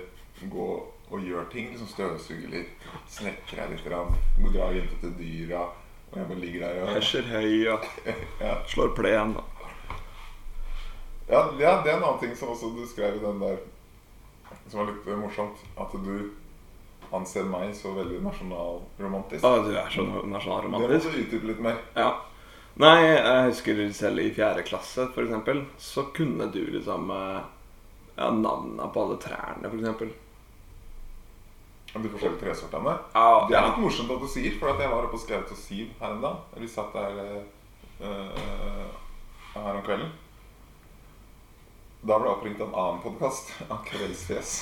S2: gå og gjør ting. Liksom støvsuger litt, snekrer her litt, grann, drar jenta til dyra. Og jeg bare ligger der og
S1: Hesjer høy og
S2: ja.
S1: slår plen.
S2: Ja, ja, det er en annen ting som også du skrev i den der, som var litt eh, morsomt. At du anser meg så veldig nasjonalromantisk.
S1: Å, du er så
S2: Det
S1: nasjonalromantisk.
S2: må du utdype litt mer.
S1: Ja. Nei, jeg husker selv i fjerde klasse, for eksempel, så kunne du liksom eh, ja, navnene på alle trærne, for eksempel.
S2: Om de forskjellige tresortene.
S1: Ja,
S2: Det er litt morsomt at du sier, for at jeg var oppe og skrev til Siv her en dag. Vi satt der eh, eh, her om kvelden. Da ble jeg oppringt av en annen podkast, av Kveldsfjes.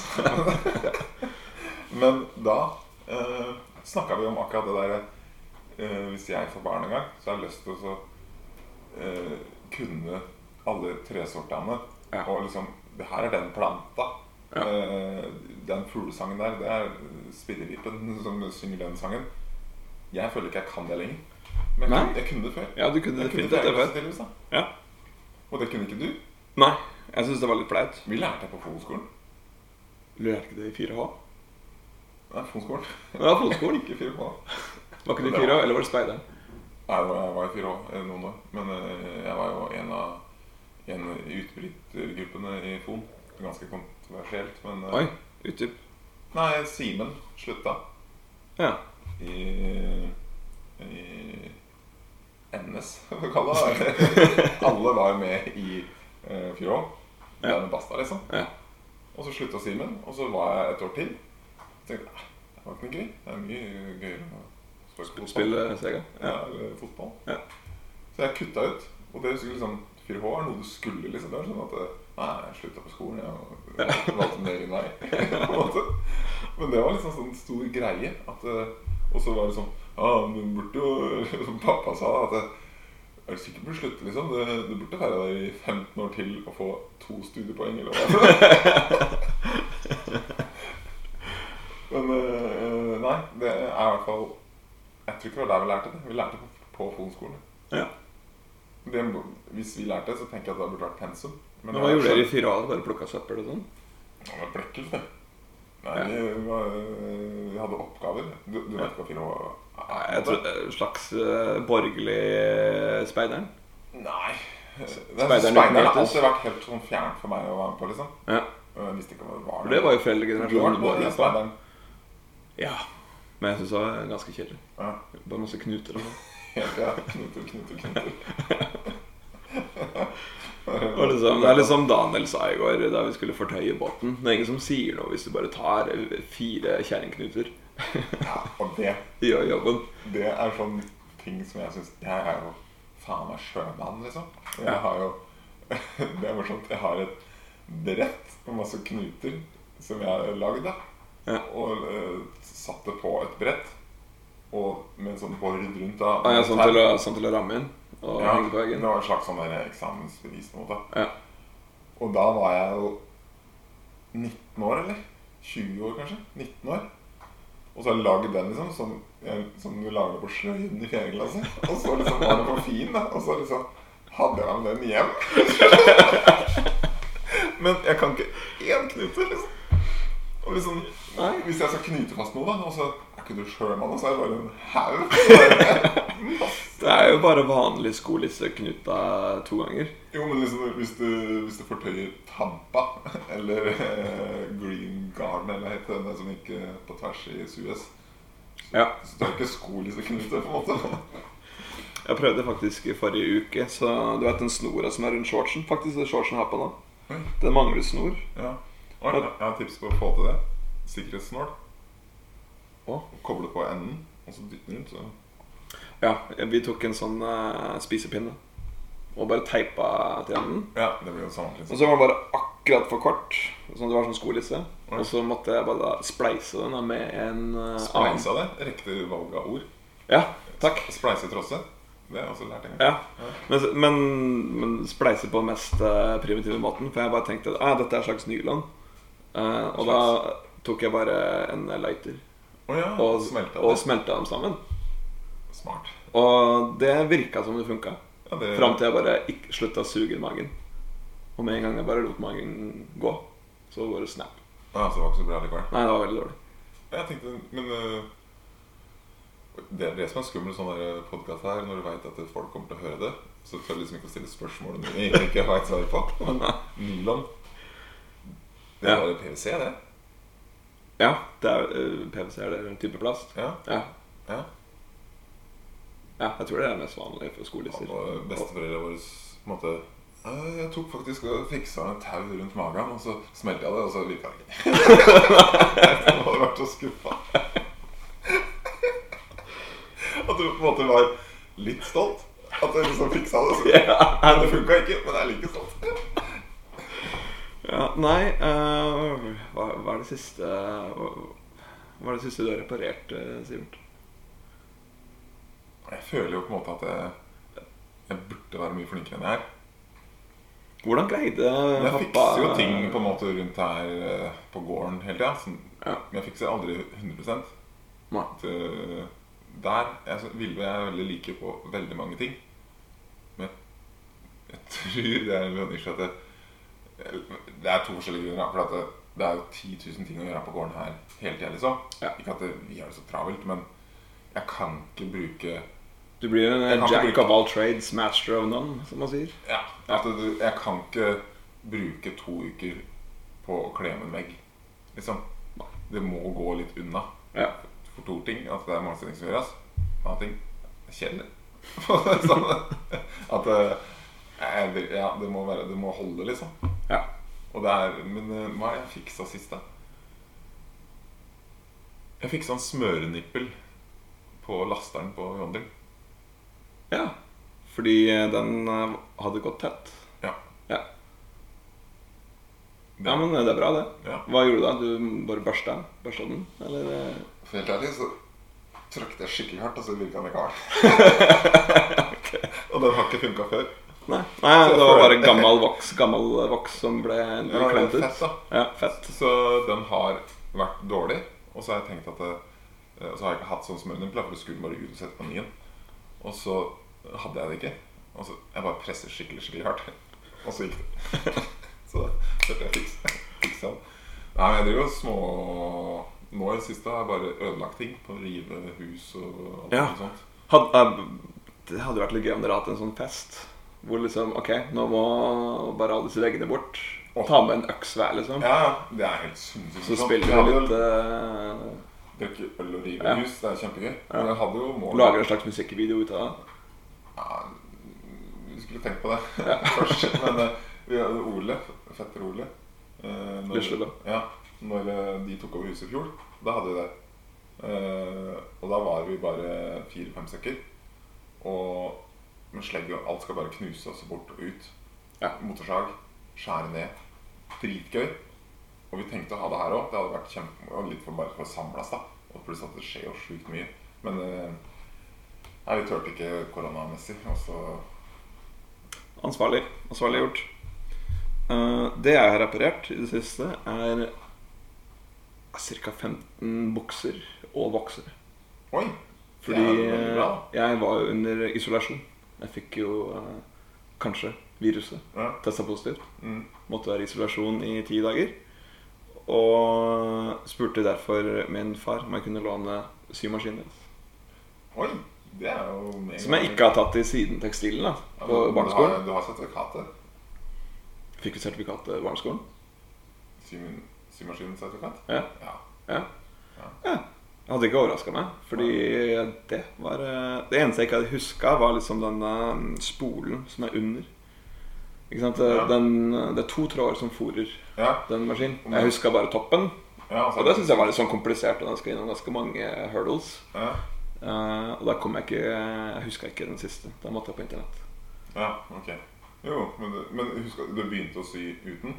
S2: Men da eh, snakka vi om akkurat det derre eh, Hvis jeg får barn en gang, så har jeg lyst til å så eh, kunne alle tresortene.
S1: Ja.
S2: Og liksom det Her er den planta.
S1: Ja.
S2: Eh, den fuglesangen der, det er spillevipen som synger den sangen. Jeg føler ikke jeg kan det lenger. Men jeg,
S1: Nei.
S2: kunne- jeg kunne det før.
S1: Ja, du kunne
S2: jeg kunne
S1: definitivt
S2: det
S1: det før.
S2: tydeligvis, da.
S1: Ja.
S2: Og det kunne ikke du.
S1: Nei, jeg syns det var litt flaut.
S2: Vi lærte det på fotskolen.
S1: Lurte ikke det i 4H?
S2: Nei, fotskolen.
S1: Det var fotskolen.
S2: Ikke fire på.
S1: Var ikke det i 4H, eller var det speideren?
S2: Nei, det var- jeg var i fire år, eh, noen år. Men eh, jeg var jo en av en i utbrytergruppene i FON. Ganske kontroversielt, men eh,
S1: Oi. Utdyp.
S2: Nei, Simen slutta
S1: Ja.
S2: i, i NS, hva vi kaller det. Alle var jo med i eh, fire år. Det
S1: Ja.
S2: er med Basta, liksom.
S1: Ja.
S2: Og så slutta Simen, og så var jeg et år til. Så tenkte jeg, "Nei, det var ikke noe gøy. Det er mye gøyere å spille fotball."
S1: Spille Sega.
S2: ja.
S1: Ja.
S2: eller fotball.
S1: Ja.
S2: Så jeg kutta ut. Og det skulle liksom 4H er noe du skulle, liksom. Det var sånn at eh, Nei, jeg slutta på skolen, jeg. Og valgte min egen vei. på en måte. Men det var liksom sånn stor greie. At, eh, og så var det sånn Ja, men du burde jo Som pappa sa, at eh, er du sikker på å slutte, liksom? Det, du burde være der i 15 år til og få to studiepoeng, eller hva det er. Men eh, nei, det er i hvert fall Jeg tror ikke det var der vi lærte det. Vi lærte det på, på Fon-skolen.
S1: ja.
S2: Det må- Hvis vi lærte det, så tenker jeg at det burde vært pensum.
S1: Men hva gjorde dere i 4H? Bare plukka søppel og sånn?
S2: Det var blekkel, det. Nei, vi, var, øh, vi hadde oppgaver. Du, du vet hva Finn var?
S1: Nei, jeg tror eh, slags eh, borgerlig eh, speideren.
S2: Nei. Det- sånn,
S1: Speideren
S2: Speideren har
S1: møtes.
S2: alltid vært helt sånn fjern for meg å være med på, liksom.
S1: Ja.
S2: Og Jeg visste ikke hva det var.
S1: For det var jo altså.
S2: Du har vært
S1: foreldregenerasjonen
S2: på
S1: vår.
S2: i Speideren.
S1: Ja. Men jeg syns det var ganske kjedelig.
S2: Ja.
S1: Bare masse knuter og sånn.
S2: Helt, ja. Knuter, knuter,
S1: Det var
S2: knuter.
S1: liksom, det er liksom Daniel sa i går, da vi skulle fortøye båten. Det er ingen som sier noe hvis du bare tar eh, fire kjerringknuter
S2: ja, og det,
S1: i jobben.
S2: det er sånn ting som jeg syns Jeg er jo faen meg sjømann, liksom. Jeg har jo Det er morsomt. Jeg har et brett med masse knuter som jeg har lagd. da.
S1: Ja.
S2: Og eh, satt det på et brett og med en sånn bord rundt. da.
S1: Ah, ja, sånn, til å, sånn til å ramme inn og
S2: ja,
S1: henge på
S2: Det
S1: veggen.
S2: var en slags sånn der eksamensbevis. på en måte.
S1: Ja.
S2: Og da var jeg jo 19 år, eller? 20 år, kanskje? 19 år. Og så har jeg laget den liksom, som, jeg, som du lager på sløyden i 4. klasse. Og så liksom var den for fin, da. Og så liksom hadde jeg med den hjem. Men jeg kan ikke én knute, liksom. Og liksom,
S1: Nei.
S2: Hvis jeg skal knyte fast noe, da, og så er ikke du sjømann, og så er det bare en haug. Så er det masse
S1: Det er jo bare vanlig skolisseknuta to ganger.
S2: Jo, men liksom, hvis, du, hvis du fortøyer Tampa, eller eh, Green Garden, eller hva heter den som gikk eh, på tvers i Suez,
S1: Ja.
S2: så det er ikke skolisseknute, på en måte.
S1: Jeg prøvde faktisk i forrige uke, så du vet den snora som er rundt shortsen? Faktisk det shortsen jeg har på nå.
S2: Oi.
S1: Den mangler snor.
S2: Ja. Og jeg har tips på å få til det. Sikkerhetssnål.
S1: Å?
S2: Koble på enden, og så dytte den rundt. Så.
S1: Ja, vi tok en sånn eh, spisepinne og bare teipa til enden.
S2: Ja, det blir jo sånn.
S1: Og
S2: Liksom.
S1: så var den bare akkurat for kort, sånn at det var sånn skolisse. Og så måtte jeg bare da spleise den da med en eh, annen.
S2: Spleisa det. Riktig valg av ord.
S1: Ja, takk.
S2: Spleise trosse. Det har jeg også lært en gang.
S1: Ja. Men, men, men spleise på den mest eh, primitive måten, for jeg bare tenkte at ah, dette er slags nylon. Eh, og da tok jeg bare en lighter
S2: Å ja,
S1: og
S2: smelta
S1: og
S2: det.
S1: smelta dem sammen.
S2: Smart.
S1: Og det virka som det funka.
S2: Ja, det,
S1: Fram til jeg bare ikk- slutta å suge i magen. Og med en gang jeg bare lot magen gå, så bare snap.
S2: Ja, så det var ikke så bra likevel.
S1: Nei, det var veldig dårlig.
S2: Jeg tenkte, men eh, Det er det som er skummelt sånn podkast her, når du veit at folk kommer til å høre det. Så tør du liksom ikke å stille spørsmål du egentlig ikke veit svaret på. Men Nylon Det
S1: Ja.
S2: er bare PVC, det.
S1: Ja, det er, eh, PVC er det en type plast.
S2: Ja.
S1: Ja.
S2: ja.
S1: ja, jeg tror det er mest vanlig for skolisser.
S2: Og besteforeldrene våre på en måte «Eh, Jeg tok faktisk og fiksa en tau rundt magen, og så smelte jeg det, og så virka det ikke. jeg hadde vært så skuffa. At du på en måte var litt stolt. At jeg liksom fiksa det. Så.
S1: Ja.
S2: Men det funka ikke, men jeg er like stolt.
S1: Ja, nei eh, hva, hva er det siste hva, hva er det siste du har reparert, eh, Sivert?
S2: Jeg føler jo på en måte at jeg Jeg burde være mye flinkere enn jeg er.
S1: Hvordan greide
S2: Men jeg
S1: pappa
S2: fikser jo ting på en måte rundt her eh, på gården hele tida. Sånn,
S1: Ja.
S2: men jeg fikser aldri 100
S1: Nei.
S2: At, eh, Der jeg, så- ville jeg veldig like på veldig mange ting. Men jeg tror det er lønner seg at det, det er to forskjellige grunner. da, For at det, det er jo 10 000 ting å gjøre på gården her hele tida. Liksom.
S1: Ja.
S2: Ikke at det, vi har det så travelt, men jeg kan ikke bruke
S1: Du blir en eh,
S2: Jeg kan ikke
S1: jack
S2: bruke-
S1: of all trades, master of none, som man sier.
S2: Ja. At du, jeg kan ikke bruke to uker på å kle med en vegg, liksom.
S1: Nei.
S2: Det må gå litt unna.
S1: Ja.
S2: For to ting. At det er masse ting som gjøres. Annen ting det er kjedelig. sånn, at eh, jeg, vil- ja, det, må være, det må holde, liksom.
S1: Ja.
S2: Og det er, men eh, hva har jeg fiksa sist, da? Jeg fiksa en smørenippel på lasteren på Jondel.
S1: ja. Fordi eh, den eh, hadde gått tett.
S2: Ja.
S1: Ja. ja, men eh, det er bra, det.
S2: Ja.
S1: Hva gjorde du da? Du bare børsta, børsta den? Eller eh,
S2: For helt ærlig så trykte jeg skikkelig hardt, og så virka den ikke hardt. Og den har ikke funka før.
S1: Nei, Nei det var bare gammel voks, gammel eh, voks som ble, ble
S2: Ja, det
S1: klemt
S2: var
S1: ut.
S2: fett, da.
S1: Ja, fett.
S2: Så den har vært dårlig, og så har jeg tenkt at det, og så har jeg ikke hatt sånn smørnippel, for det skulle bare utsette menyen. Og så hadde jeg det ikke. Og så Jeg bare presset skikkelig, skikkelig hardt. Og så gikk det. Så da følte jeg fiks- fiksa den. Nei, men jeg driver og små Nå i det siste har jeg bare ødelagt ting. På å rive hus og alt
S1: Ja.
S2: mulig sånt.
S1: Hadde, eh, det hadde vært litt gøy om dere hadde hatt en sånn fest hvor liksom OK, nå må bare alle disse veggene bort.
S2: Åh.
S1: Ta med en øks hver, liksom.
S2: Ja, ja. Det er helt sinnssykt.
S1: Så
S2: sant?
S1: spiller
S2: Jeg
S1: vi
S2: hadde
S1: litt
S2: jo
S1: eh,
S2: Drikke øl og rive
S1: Ja.
S2: hus. Det er kjempegøy. Men jeg hadde jo mål
S1: Lager en slags musikkvideo ut av det.
S2: Ja, vi skulle tenkt på det først. Men eh, vi hadde Ole, fetter Ole eh, når-
S1: Lisle, da.
S2: Ja, når eh, de tok over huset i fjor, da hadde vi det. Eh, og da var vi bare fire-fem stykker. Og med slegg og alt skal bare knuse oss bort og ut.
S1: Ja.
S2: Motorsag. Skjære ned. Dritgøy. Og vi tenkte å ha det her òg. Det hadde vært kjempe... og Litt for bare for å samles, da. Og pluss at det skjer jo sjukt mye. Men eh, Nei, vi turte ikke koronamessig. Og så
S1: Ansvarlig. Ansvarlig gjort. Eh, det jeg har reparert i det siste, er eh, ca. 15 bukser og voksere.
S2: Oi!
S1: Fordi
S2: det er veldig bra.
S1: eh, jeg var jo under isolasjon. Jeg fikk jo eh, kanskje viruset.
S2: Ja.
S1: Testa positivt.
S2: Mm.
S1: Måtte være i isolasjon i ti dager. Og spurte derfor min far om jeg kunne låne symaskinen.
S2: Oi! Det er jo mega-
S1: Som jeg ikke har tatt i siden tekstilen. da
S2: Ja,
S1: På
S2: men du
S1: barneskolen.
S2: har- Du har sertifikatet?
S1: Fikk jo sertifikat til barneskolen.
S2: Symin- Symaskinsertifikat?
S1: Ja.
S2: ja.
S1: Ja. ja. Det hadde ikke overraska meg. Fordi det var eh, Det eneste jeg ikke hadde huska, var liksom denne mm, spolen som er under. Ikke sant? Det-
S2: Ja.
S1: Den, eh, det er to tråder som fôrer
S2: Ja,
S1: den maskinen.
S2: Mm.
S1: Jeg huska bare toppen.
S2: ja altså-
S1: Og det syns jeg var litt sånn komplisert, og den skal innom ganske mange hurdles.
S2: Ja,
S1: Eh, og da kom jeg ikke Jeg huska ikke den siste. Da måtte jeg på internett.
S2: ja ok. Jo, men, du- men husk at du begynte å sy uten,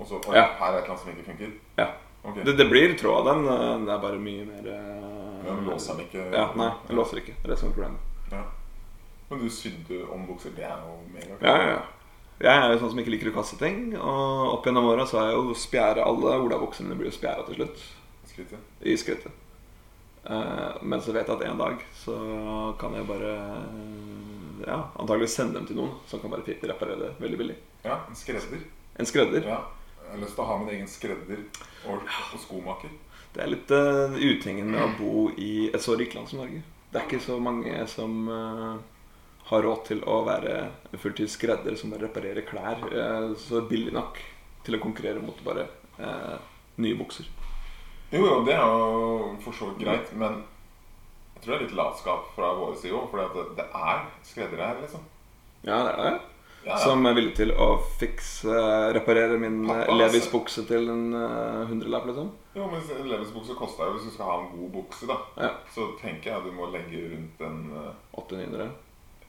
S2: og så Oi,
S1: Ja.
S2: her er et eller annet som ikke funker.
S1: Ja.
S2: Ok.
S1: Det, det blir tråd av den. eh, Det er bare mye mer
S2: Ja,
S1: uh,
S2: men låser den ikke?
S1: Ja, nei, jeg låser ikke. Det er det som er problemet.
S2: Ja. Men du sydde om bukser. Det er jo megakult.
S1: Ja, ja, ja. Jeg er jo sånn som ikke liker å kaste ting. Og opp gjennom åra så har jeg jo spjæra alle olabuksene mine blir jo spjæra til slutt.
S2: Skrittet.
S1: I skrittet. Eh, men så vet jeg at en dag så kan jeg bare eh, Ja, antageligvis sende dem til noen som kan bare fi- reparere det veldig billig.
S2: Ja, en skredder.
S1: En skredder.
S2: Ja. Jeg har lyst til å ha min egen skredder og, og skomaker.
S1: Det er litt uh, utingen med å bo i et så rikt land som Norge. Det er ikke så mange som eh, har råd til å være fulltids skredder som bare reparerer klær eh, så billig nok til å konkurrere mot bare eh, nye bukser.
S2: Jo, jo, det er jo for så vidt greit, men jeg tror det er litt latskap fra våre side òg, for det, det er skreddere her, liksom.
S1: Ja, det er det.
S2: Ja, ja.
S1: Som er villig til å fikse, reparere min
S2: Pappa,
S1: eh,
S2: altså.
S1: Levis-bukse til en eh, hundrelapp, liksom.
S2: Jo, men Levis-bukse koster jo hvis du skal ha en god bukse, da.
S1: Ja.
S2: Så tenker jeg du må legge rundt en eh,
S1: 800.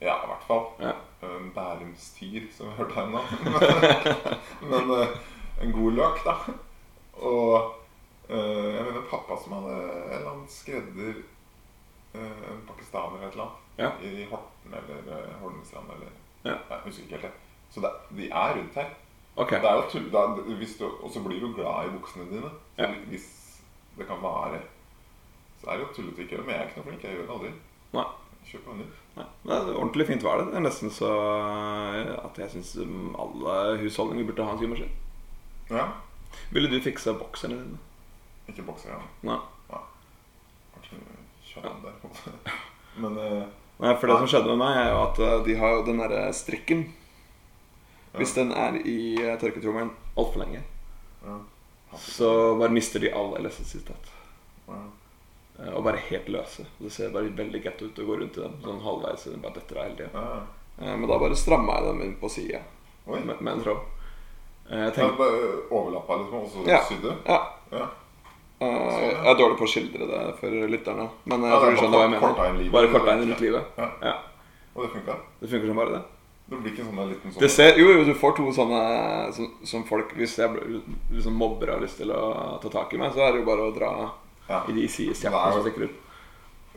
S2: Ja, i hvert fall.
S1: Ja.
S2: En Bærumstier, som vi hørte her nå. Men eh, en god løk, da. Og eh, jeg mener pappa som hadde en eller annen skredder eh, En pakkis- Pakistan eller et eller annet.
S1: Ja.
S2: I Horten eller eh, Holmestrand eller
S1: Ja.
S2: Nei, Jeg husker ikke helt det. Så det, de er rundt her.
S1: Ok.
S2: Det er jo tull, det er, hvis du, Og så blir du glad i buksene dine. Så
S1: Ja.
S2: Hvis det kan være Så er det jo tullete å ikke gjøre det. Men jeg er ikke noe flink. Jeg gjør det aldri.
S1: Nei.
S2: Kjøper hunder.
S1: Nei, Det er ordentlig fint vær, det. Det er nesten så eh, at jeg syns alle husholdninger burde ha en symaskin.
S2: Ja.
S1: Ville du fiksa bokserne dine?
S2: Ikke bokser, ja.
S1: Nei.
S2: Kanskje kjønn der, på en måte. Men eh,
S1: Nei, for det som skjedde med meg, er jo at eh, de har jo den derre strikken. Hvis den er i eh, tørketrommelen altfor lenge,
S2: Ja.
S1: så bare mister de all elastisitet.
S2: ja.
S1: Eh, Og bare helt løse. Det ser bare veldig getto ut å gå rundt i dem sånn halvveis. så de bare detter av hele tiden.
S2: ja.
S1: Eh, Men da bare stramma jeg dem inn på sida
S2: Oi.
S1: med, med en tråd. Eh, Jeg
S2: Ja,
S1: tenkte
S2: bare Overlappa liksom, og så
S1: Ja.
S2: sydde?
S1: Ja.
S2: Ja.
S1: Eh, jeg er dårlig på å skildre det for lytterne. Men eh, jeg
S2: Ja,
S1: tror
S2: det
S1: du
S2: er
S1: skjønner hva jeg
S2: bare korta inn
S1: mener.
S2: livet.
S1: Bare korta inn rundt livet.
S2: Ja.
S1: Ja,
S2: Og det funka?
S1: Det funker som bare det.
S2: Det blir ikke en sånn liten sånn
S1: Det ser, jo, jo, du får to sånne som, som folk Hvis jeg blir- liksom mobber og har lyst til å ta tak i meg, så er det jo bare å dra
S2: Ja.
S1: i de sidestjernene som stikker ut.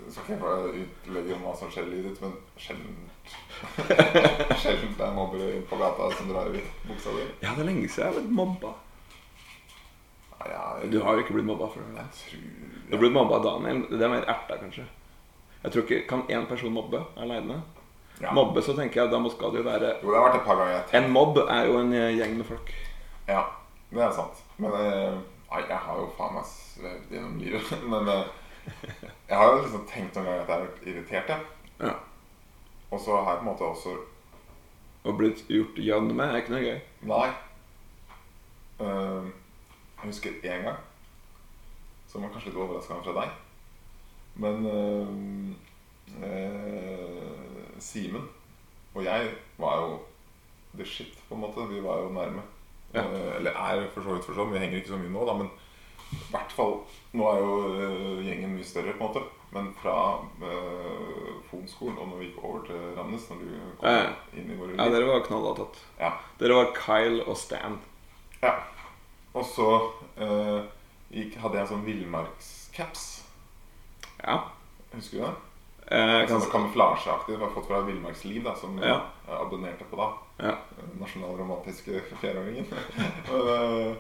S2: skal ikke jeg bare utlegge om hva som skjer i livet ditt, men sjeldent Sjeldent det er mobbere inne på gata som drar i buksa di.
S1: Ja, det er lenge siden jeg har blitt mobba.
S2: Nei, jeg,
S1: Du har jo ikke blitt mobba før.
S2: jeg
S1: Du
S2: tror
S1: har blitt mobba av Daniel. Det er mer erta, kanskje. Jeg tror ikke, Kan én person mobbe aleine?
S2: Ja.
S1: Mobbe, så tenker jeg da må skal det jo være
S2: Jo, det har vært et par ganger. jeg
S1: En mobb er jo en eh, gjeng med folk.
S2: Ja, det er sant. Men eh, nei, jeg har jo faen meg svevd gjennom livet. Men eh, jeg har jo liksom tenkt noen ganger at jeg har vært irritert, jeg.
S1: Ja.
S2: Og så har jeg på en måte også
S1: Å bli gjort gjønn med er ikke noe gøy.
S2: Nei. Eh, jeg husker én gang som var kanskje litt overraskende fra deg. Men eh, eh, Simen og jeg var jo the shit, på en måte. Vi var jo nærme.
S1: Ja.
S2: Eh, eller er for så vidt for sånn. Vi henger ikke så mye nå, da, men i hvert fall Nå er jo eh, gjengen mye større, på en måte. Men fra uh, Fonskolen og når vi gikk over til Ramnes, når du kom
S1: Ja, ja.
S2: inn i våre
S1: Ja, dere var knallhåtatt.
S2: Ja.
S1: Dere var Kyle og Stan.
S2: Ja. Og så eh, gikk, hadde jeg en sånn villmarkscaps.
S1: Ja.
S2: Husker du det?
S1: Eh,
S2: Sånn
S1: kan,
S2: Kamuflasjeaktig. Det var fått fra Villmarksliv, da, som
S1: Ja.
S2: jeg abonnerte på da.
S1: ja.
S2: Den Nasjonalromantiske fjerdeåringen. Eh,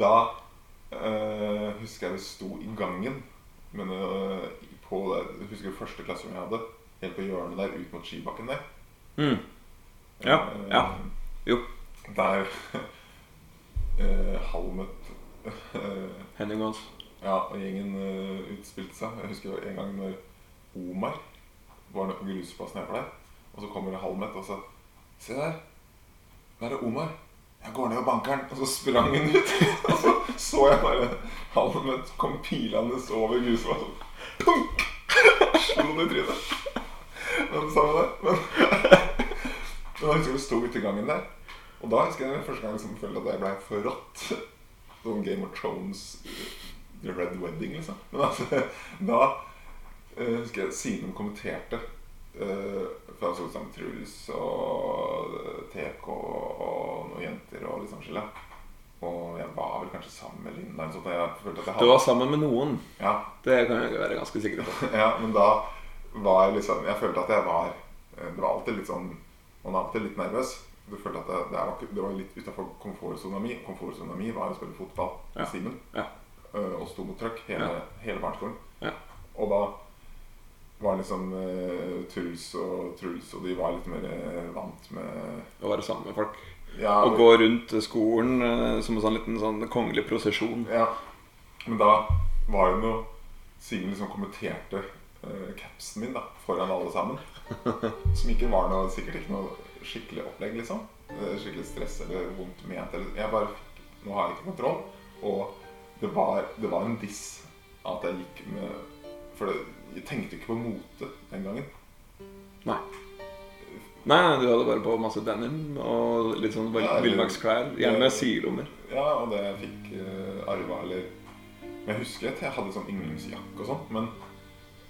S2: da eh, husker jeg vi sto i gangen men, eh, på det, Husker du første klasserommet jeg hadde? Helt på hjørnet der ut mot skibakken der.
S1: Mm. Ja,
S2: Eh,
S1: ja. Jo.
S2: Der eh, Halmet eh,
S1: Henning Mons.
S2: Ja, og gjengen eh, utspilte seg. Jeg husker det var en gang når Omar var nede på grusplassen her for deg. Og så kommer det halvmett og så Se der! Der er Omar. Jeg går ned og banker han. Og så sprang han ut. og så så jeg bare halvmett kom pilende over grusplassen. Punk! Slo det i trynet. Men sa det. Men, men da husker jeg vi sto ute i gangen der. Og da husker jeg første gang jeg liksom følte at jeg ble forrådt. Sånn Game of Thrones The Red Wedding, liksom. Men altså, da eh, husker jeg Simen kommenterte eh, For han så ut som Truls og eh, TK og noen jenter og liksom skille. Og jeg var vel kanskje sammen med Linda eller noe sånt. og Jeg følte at jeg
S1: Du
S2: hadde
S1: var sammen med noen.
S2: ja,
S1: Det kan jeg være ganske sikker på.
S2: ja, men da var jeg liksom Jeg følte at jeg var eh, Det var alltid litt sånn Man er alltid litt nervøs. Du følte at det, det, var, ikke- det var litt utafor komfortsona mi. Komfortsona mi var jo å spille fotball
S1: Ja.
S2: med Simen
S1: Ja.
S2: øh, og sto mot trøkk hele,
S1: Ja.
S2: hele barneskolen.
S1: Ja.
S2: Og da var liksom eh, Truls og Truls, og de var litt mer eh, vant med
S1: Å være sammen med folk.
S2: ja,
S1: Å gå rundt skolen eh, som en sånn liten sånn kongelig prosesjon.
S2: ja. Men da var det noe Simen liksom kommenterte eh, capsen min da, foran alle sammen. Som ikke var noe, sikkert ikke noe skikkelig opplegg, liksom. Eh, Skikkelig stress eller vondt ment. Eller, jeg bare fikk Nå har jeg ikke kontroll. Og det var, det var en diss at jeg gikk med For det, jeg tenkte ikke på mote den gangen.
S1: Nei. Nei, du hadde bare på masse denim og litt sånn vill-
S2: Ja, eller-
S1: villmarksklær. Gjerne med sidelommer.
S2: Ja, og det jeg fikk uh, arva, eller Men jeg husker at jeg hadde sånn yndlingsjakke og sånn. men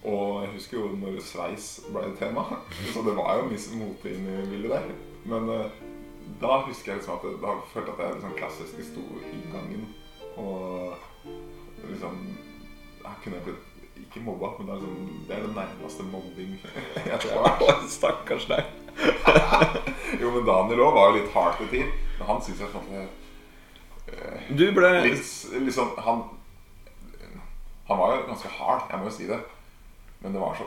S2: Og jeg husker jo når sveis ble et tema, så det var jo mye mote inn i bildet der. Men eh, da husker jeg liksom at jeg, da følte jeg at jeg liksom klassisk sto i gangen og liksom Her kunne jeg blitt ikke mobba, men det er, sånn, det er det nærmeste mobbing jeg tror.
S1: Ja, Stakkars deg.
S2: Jo, men Daniel òg var jo litt hard til tid. Men han syns jeg sånn
S1: Du ble
S2: litt, litt sånn han, han var jo ganske hard, jeg må jo si det. Men det var så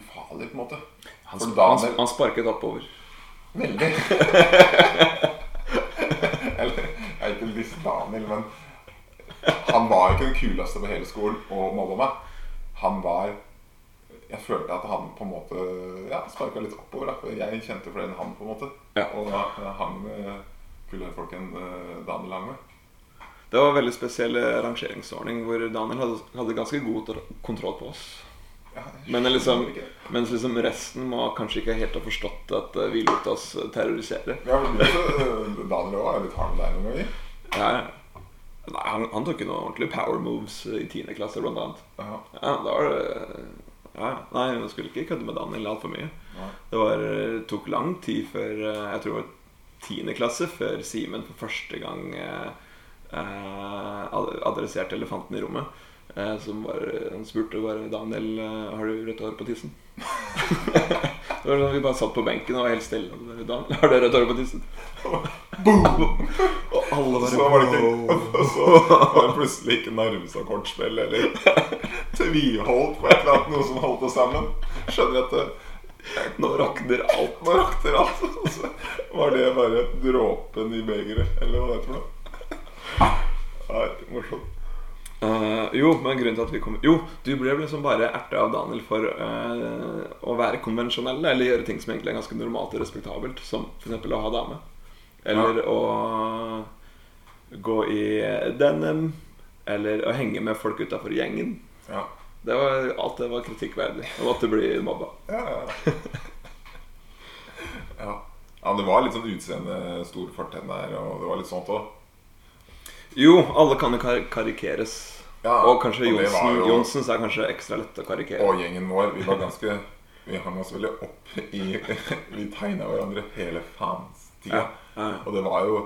S2: ufarlig, på en måte.
S1: Han,
S2: For
S1: han,
S2: Daniel
S1: han sparket oppover.
S2: Veldig. Eller jeg er ikke en viss Daniel, men han var ikke den kuleste på hele skolen og mobba meg. Han var Jeg følte at han på en måte ja, sparka litt oppover. Da. for Jeg kjente flere enn han, på en måte.
S1: Ja.
S2: Og da hang med kulere folk enn eh, Daniel hang med.
S1: Det var en veldig spesiell eh, rangeringsordning hvor Daniel hadde, hadde ganske god tr- kontroll på oss.
S2: Ja, jeg
S1: Men det er liksom,
S2: skjønner ikke.
S1: mens liksom resten må kanskje ikke helt ha forstått at eh, vi lot oss terrorisere.
S2: Ja, men du også, eh, Daniel òg er litt hard med deg noen ganger.
S1: Ja, ja. Nei, han, han tok jo noen ordentlige power moves eh, i 10. klasse, blant annet.
S2: Ja.
S1: Ja, da var det eh, ja, ja. Nei, hun skulle ikke kødde med Daniel altfor mye.
S2: Nei.
S1: Det var, eh, tok lang tid før eh, Jeg tror det var 10. klasse før Simen for første gang eh, eh, ad- adresserte elefanten i rommet. Eh, som var, han spurte bare 'Daniel, eh, har du rødt hår på tissen?' det var sånn Vi bare satt på benken og var helt stille. Og bare, 'Daniel, har du rødt hår på tissen?' Boom! og alle bare
S2: Så var det
S1: «Wow».
S2: ikke og Så var det plutselig ikke Narvestad-kortspill eller tviholdt på et eller annet, noe som holdt oss sammen. Skjønner at det,
S1: Nå rakner alt.
S2: nå rakte det alt. Og så var det bare dråpen i begeret, eller hva det heter for noe. Nei, morsomt.
S1: Eh, jo, men grunnen til at vi kom Jo, du ble vel liksom bare erta av Daniel for eh, å være konvensjonell, eller gjøre ting som egentlig er ganske normalt og respektabelt, som f.eks. å ha dame. Eller å gå i denim. Eller å henge med folk utafor gjengen.
S2: Ja.
S1: Det var, alt det var kritikkverdig. Og måtte bli mobba.
S2: Ja, ja. ja. ja, det var litt sånn utseende, stor fortenner, og det var litt sånt òg.
S1: Jo, alle kan jo kar karikeres.
S2: Ja,
S1: og kanskje
S2: og det var
S1: Johnsen,
S2: jo-
S1: Johnsens er kanskje ekstra lett å karikere.
S2: Og gjengen vår, vi var ganske Vi hang oss veldig opp i Vi tegna hverandre hele faens tida.
S1: Ja, ja.
S2: Og det var jo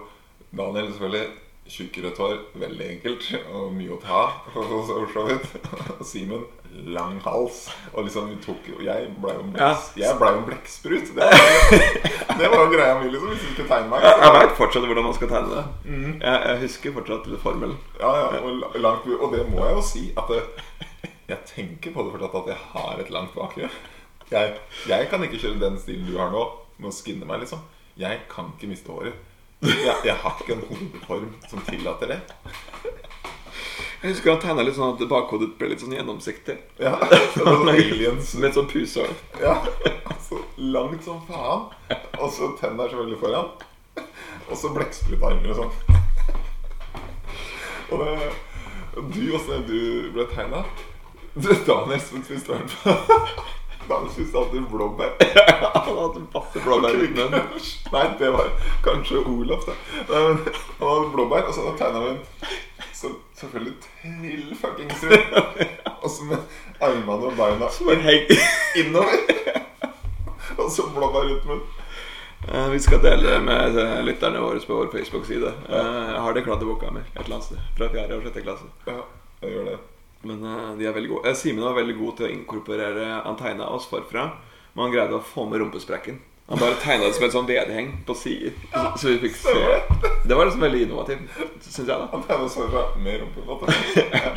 S2: Daniel selvfølgelig tjukk rødt hår, veldig enkelt og mye å ta av, for for så vidt. Og Simen lang hals. Og liksom vi tok jo Jeg blei jo en bleks, jeg ble jo en blekksprut. Det, var- det var jo greia mi, liksom. Hvis du ikke tegner meg.
S1: Jeg,
S2: så-
S1: jeg veit fortsatt hvordan man skal tegne det. Jeg, jeg husker fortsatt formelen.
S2: Ja, ja, og, la- langt, og det må jeg jo si at det, jeg tenker på det fortsatt at jeg har et langt bakre. Jeg, jeg kan ikke kjøre den stilen du har nå, med å skinne meg, liksom. Jeg kan ikke miste håret. Jeg, jeg har ikke en hodeform som tillater det.
S1: Jeg husker han tegna litt sånn at bakhodet ble litt sånn gjennomsiktig.
S2: Ja, det var sånn aliens
S1: Med et sånt pusehår.
S2: ja, altså, Langt som faen. Og så tennene er så veldig foran. Og så blekksprutarmer og sånn. Og det Du også, du ble tegna. Daniel spiste hvert Daniel spiste alltid blåbær.
S1: Han hadde masse blåbær i munnen.
S2: Nei, det var kanskje Olaf, det. Nei, men Han hadde blåbær, og så tegna vi en så selvfølgelig trill fuckings rundt. Og så med armene og beina
S1: Så bare heng-
S2: innover. Og så blåbær ut med
S1: Eh, Vi skal dele med eh, lytterne våre på vår Facebook-side. Eh, Jeg har det kladdeboka mi et eller annet sted fra 4. og 6. klasse.
S2: Ja, jeg gjør det.
S1: Men eh, de er veldig gode. Eh, Simen var veldig god til å inkorporere Han tegna oss forfra, men han greide å få med rumpesprekken. Han bare tegna det som et sånn vedheng på sider. så- Så vi fikk se. Det var liksom veldig innovativt, syns jeg, da.
S2: Han tegner seg fra med rumpe, på en måte. Ja.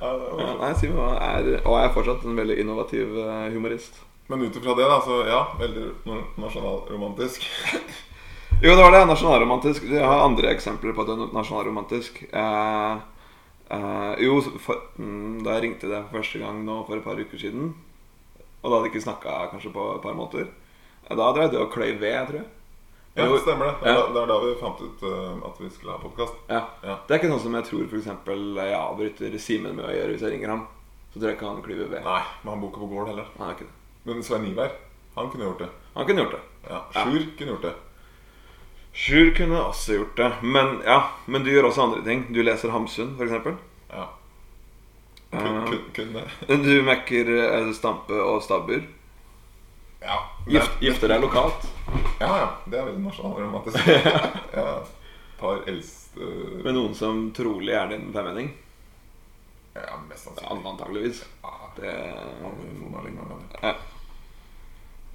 S2: Ja, det var
S1: Ja,
S2: morsomt.
S1: Nei, Simen er, og er fortsatt en veldig innovativ eh, humorist.
S2: Men ut ifra det, da, så ja, veldig nor- nasjonalromantisk.
S1: Jo, det var det. Nasjonalromantisk. Jeg har andre eksempler på at det er nasjonalromantisk. Eh, eh, jo, for, mm, da jeg ringte deg for første gang nå for et par uker siden, og da hadde jeg ikke snakka kanskje på et par måneder, eh, da drev det å kløy ved, tror jeg.
S2: Ja,
S1: Jo,
S2: stemmer det.
S1: ja.
S2: Det er da- det er da vi fant ut eh, at vi skulle ha podkast.
S1: Ja.
S2: Ja.
S1: Det er ikke sånn som jeg tror f.eks. jeg avbryter Simen med å gjøre hvis jeg ringer ham. Så tror jeg ikke han klyver ved.
S2: Nei, men han bor ikke på gård heller.
S1: Han, er ikke det.
S2: Men Svein Ivar, han kunne gjort det.
S1: han kunne gjort det.
S2: Ja, Sjur kunne gjort det.
S1: Sjur kunne også gjort det. Men ja, men du gjør også andre ting. Du leser Hamsun, f.eks.
S2: Ja. Kun, kun, kunne.
S1: Du mekker eh, stampe og stabbur.
S2: Ja.
S1: Gift, gifter deg lokalt.
S2: Ja, ja. Det er veldig nasjonalromantisk. ja. Par eldste
S1: Med noen som trolig er din femmenning.
S2: Ja, mest sannsynlig.
S1: Alle antageligvis.
S2: Ja,
S1: Det
S2: alle telefoner ligner hverandre.
S1: ja.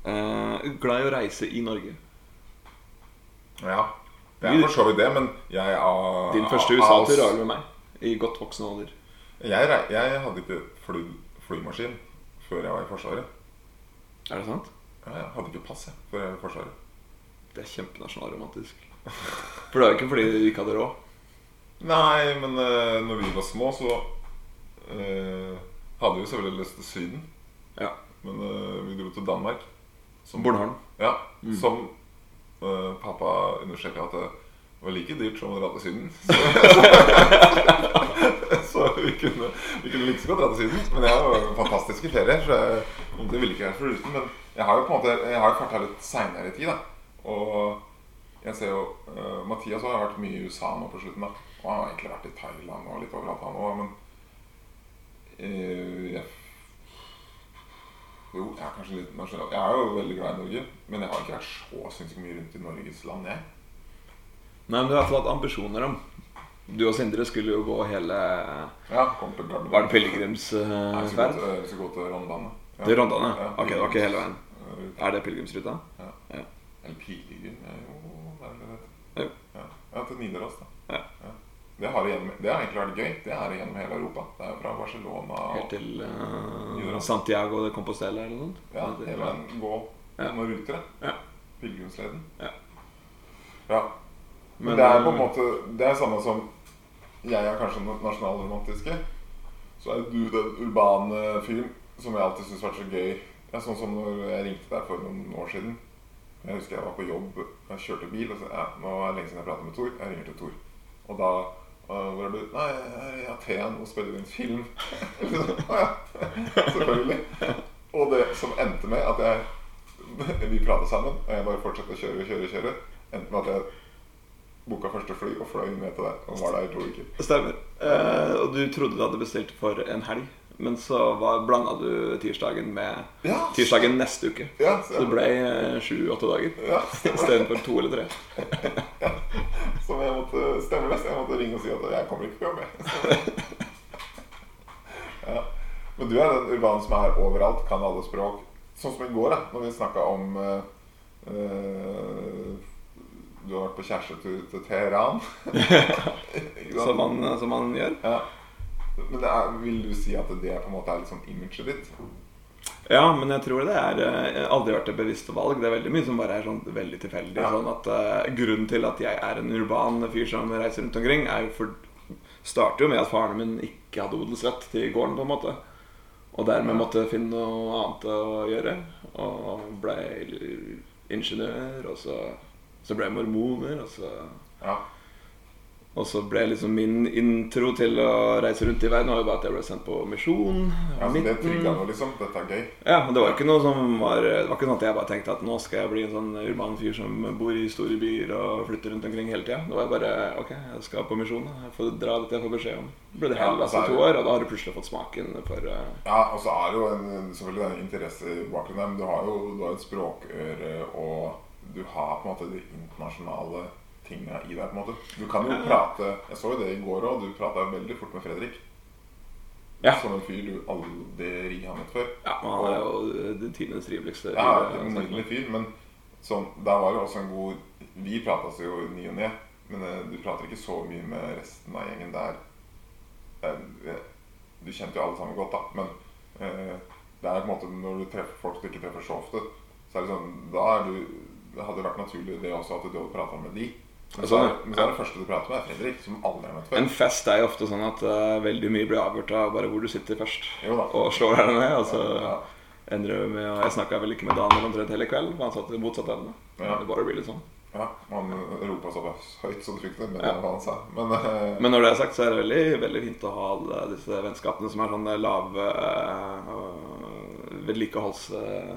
S1: Eh, Glad i å reise i Norge.
S2: Ja. Det er for så vidt det, men jeg av
S1: Din første
S2: av-
S1: USA-tur var vel med meg. I godt voksen alder.
S2: Jeg, rei- jeg hadde ikke fly, flymaskin før jeg var i Forsvaret.
S1: Er det sant?
S2: Ja, Jeg hadde ikke pass jeg, før jeg var i Forsvaret.
S1: Det er kjempenasjonalromantisk. For det er jo ikke fordi du ikke hadde råd.
S2: Nei, men uh, når vi var små, så eh, hadde vi jo selvfølgelig lyst til Syden.
S1: Ja.
S2: Men eh, vi dro til Danmark. Som,
S1: Bornholm.
S2: Ja, Som eh, pappa understreket at det var like dyrt som å dra til Syden. Så, så vi, kunne, vi kunne like så godt dra til Syden. Men jeg har jo fantastiske ferier, så jeg, det ville ikke vært foruten. Men jeg har jo på en måte Jeg har jo farta litt seinere i tid, da. Og jeg ser jo eh, Mathias har jo vært mye i USA nå på slutten, da. Og han har egentlig vært i Thailand og litt overalt, han òg. Men eh, jeg jo, jeg er kanskje litt nasjonal. Jeg er jo veldig glad i Norge, men jeg har ikke vært så sinnssykt mye rundt i Norges land, jeg.
S1: Nei, men du har i hvert fall hatt ambisjoner om Du og Sindre skulle jo gå hele
S2: Ja, kom til Gardermoen.
S1: Var det pilegrimsferd?
S2: Jeg
S1: Uh,
S2: skal gå til- jeg skal gå til Rondane. Ja.
S1: til Rondane?
S2: Ja.
S1: Ok, det var ikke hele veien.
S2: Eh,
S1: Er det pilegrimsruta?
S2: Eller Pilegrim eh, Jo, det er vel
S1: Jo.
S2: det. Ja. ja, til Nidaros, da.
S1: Ja.
S2: Det, har gjennom, det har egentlig vært gøy. Det er gjennom hele Europa. Det er jo fra Barcelona
S1: Helt
S2: og
S1: til eh,
S2: Jordan.
S1: Santiago de Compostela eller noe sånt?
S2: Ja, hele veien gå
S1: Ja.
S2: noen ruter.
S1: Ja.
S2: Pilegrimsleden.
S1: Ja. eh,
S2: ja. Men det er på en måte Det er samme som Jeg er kanskje den nasjonalromantiske. Så er du den urbane fyren som jeg alltid syns har vært så gøy. Det er sånn som når jeg ringte deg for noen år siden. Jeg husker jeg var på jobb, jeg kjørte bil og så ja, nå er det lenge siden jeg pratet med Tor. Jeg ringer til Tor. Og da «Øh, hvor er du? Nei, jeg er i Aten og spiller inn film. Å ja. Selvfølgelig. Og det som endte med at jeg Vi pratet sammen, og jeg bare fortsatte å kjøre, kjøre, kjøre. Endte med at jeg Boka første fly og fløy ned til deg og var der i to uker.
S1: Stemmer. Eh, og du trodde du hadde bestilt for en helg, men så var- blanda du tirsdagen med
S2: Ja,
S1: tirsdagen neste uke.
S2: Ja,
S1: Så det ble sju-åtte dager
S2: ja, stemmer.
S1: istedenfor to eller tre.
S2: Som jeg måtte stemme mest. Jeg måtte ringe og si at jeg kommer ikke på jobb. jeg. Ja. Men du er den urbanen som er overalt, kan alle språk. Sånn som i går, da når vi snakka om eh, eh, Du har vært på kjærestetur til Teheran. Ikke sant?
S1: Som man, som man gjør.
S2: ja. Men det er, vil du si at det på en måte er litt sånn imaget ditt?
S1: Ja, men jeg tror det er eh, Jeg har aldri vært et bevisst valg. Det er veldig mye som bare er sånn veldig tilfeldig.
S2: Ja.
S1: Sånn at eh, Grunnen til at jeg er en urban fyr som reiser rundt omkring, er jo for starter jo med at faren min ikke hadde odelsrett til gården, på en måte. Og dermed måtte finne noe annet å gjøre. Og ble ingeniør, og så, så ble jeg mormoner, og så
S2: Ja.
S1: og så ble liksom min intro til å reise rundt i verden var jo bare at jeg ble sendt på misjon.
S2: ja så det
S1: midten.
S2: trigga noe, liksom? Dette er gøy?
S1: Ja, men det var ikke noe som var Det var ikke sånn at jeg bare tenkte at nå skal jeg bli en sånn urban fyr som bor i store byer og flytter rundt omkring hele tida. Det var bare OK, jeg skal på misjon. da. Jeg får dra dit jeg får beskjed om. Så ble det
S2: Ja,
S1: Hellas
S2: altså, så
S1: i
S2: er
S1: to
S2: det-
S1: år, og da har du plutselig fått smaken for eh,
S2: Ja, og så er det jo en, selvfølgelig en interesse i bakgrunnen her, men du har jo du har et språkøre, og du har på en måte de internasjonale tinga i deg, på en måte. Du kan jo prate Jeg så jo det i går òg, du prata veldig fort med Fredrik.
S1: Ja.
S2: Som en fyr du aldri har møtt før.
S1: Ja, men han er jo den tidenes triveligste.
S2: Ja,
S1: fyr,
S2: en
S1: eh,
S2: nydelig fyr, men sånn, der var det også en god Vi prates jo i ny og ne, men eh, du prater ikke så mye med resten av gjengen der. Eh, eh, Du kjente jo alle sammen godt, da, men eh, det er på en måte når du treffer folk du ikke treffer så ofte, så er det sånn Da er du Det hadde vært naturlig det også at du hadde prata med de. Men så,
S1: Ja, sånn,
S2: er,
S1: ja.
S2: men så er det første du prater med, er Fredrik, som aldri har møtt
S1: En
S2: før.
S1: fest er jo ofte sånn at eh, veldig mye blir avgjort av bare hvor du sitter først.
S2: Jo da.
S1: Og slår deg ned, og så
S2: Ja.
S1: endrer det med og Jeg snakka vel ikke med Daniel omtrent hele kvelden, for han satt i motsatt ende.
S2: Ja.
S1: Det bare blir litt sånn.
S2: Ja, Man ropa såpass høyt så du fikk det med
S1: Ja.
S2: hva han sa. Men eh,
S1: Men når det er sagt, så er det veldig, veldig fint å ha alle disse vennskapene som er sånn lav eh, øh, vedlikeholds... eh,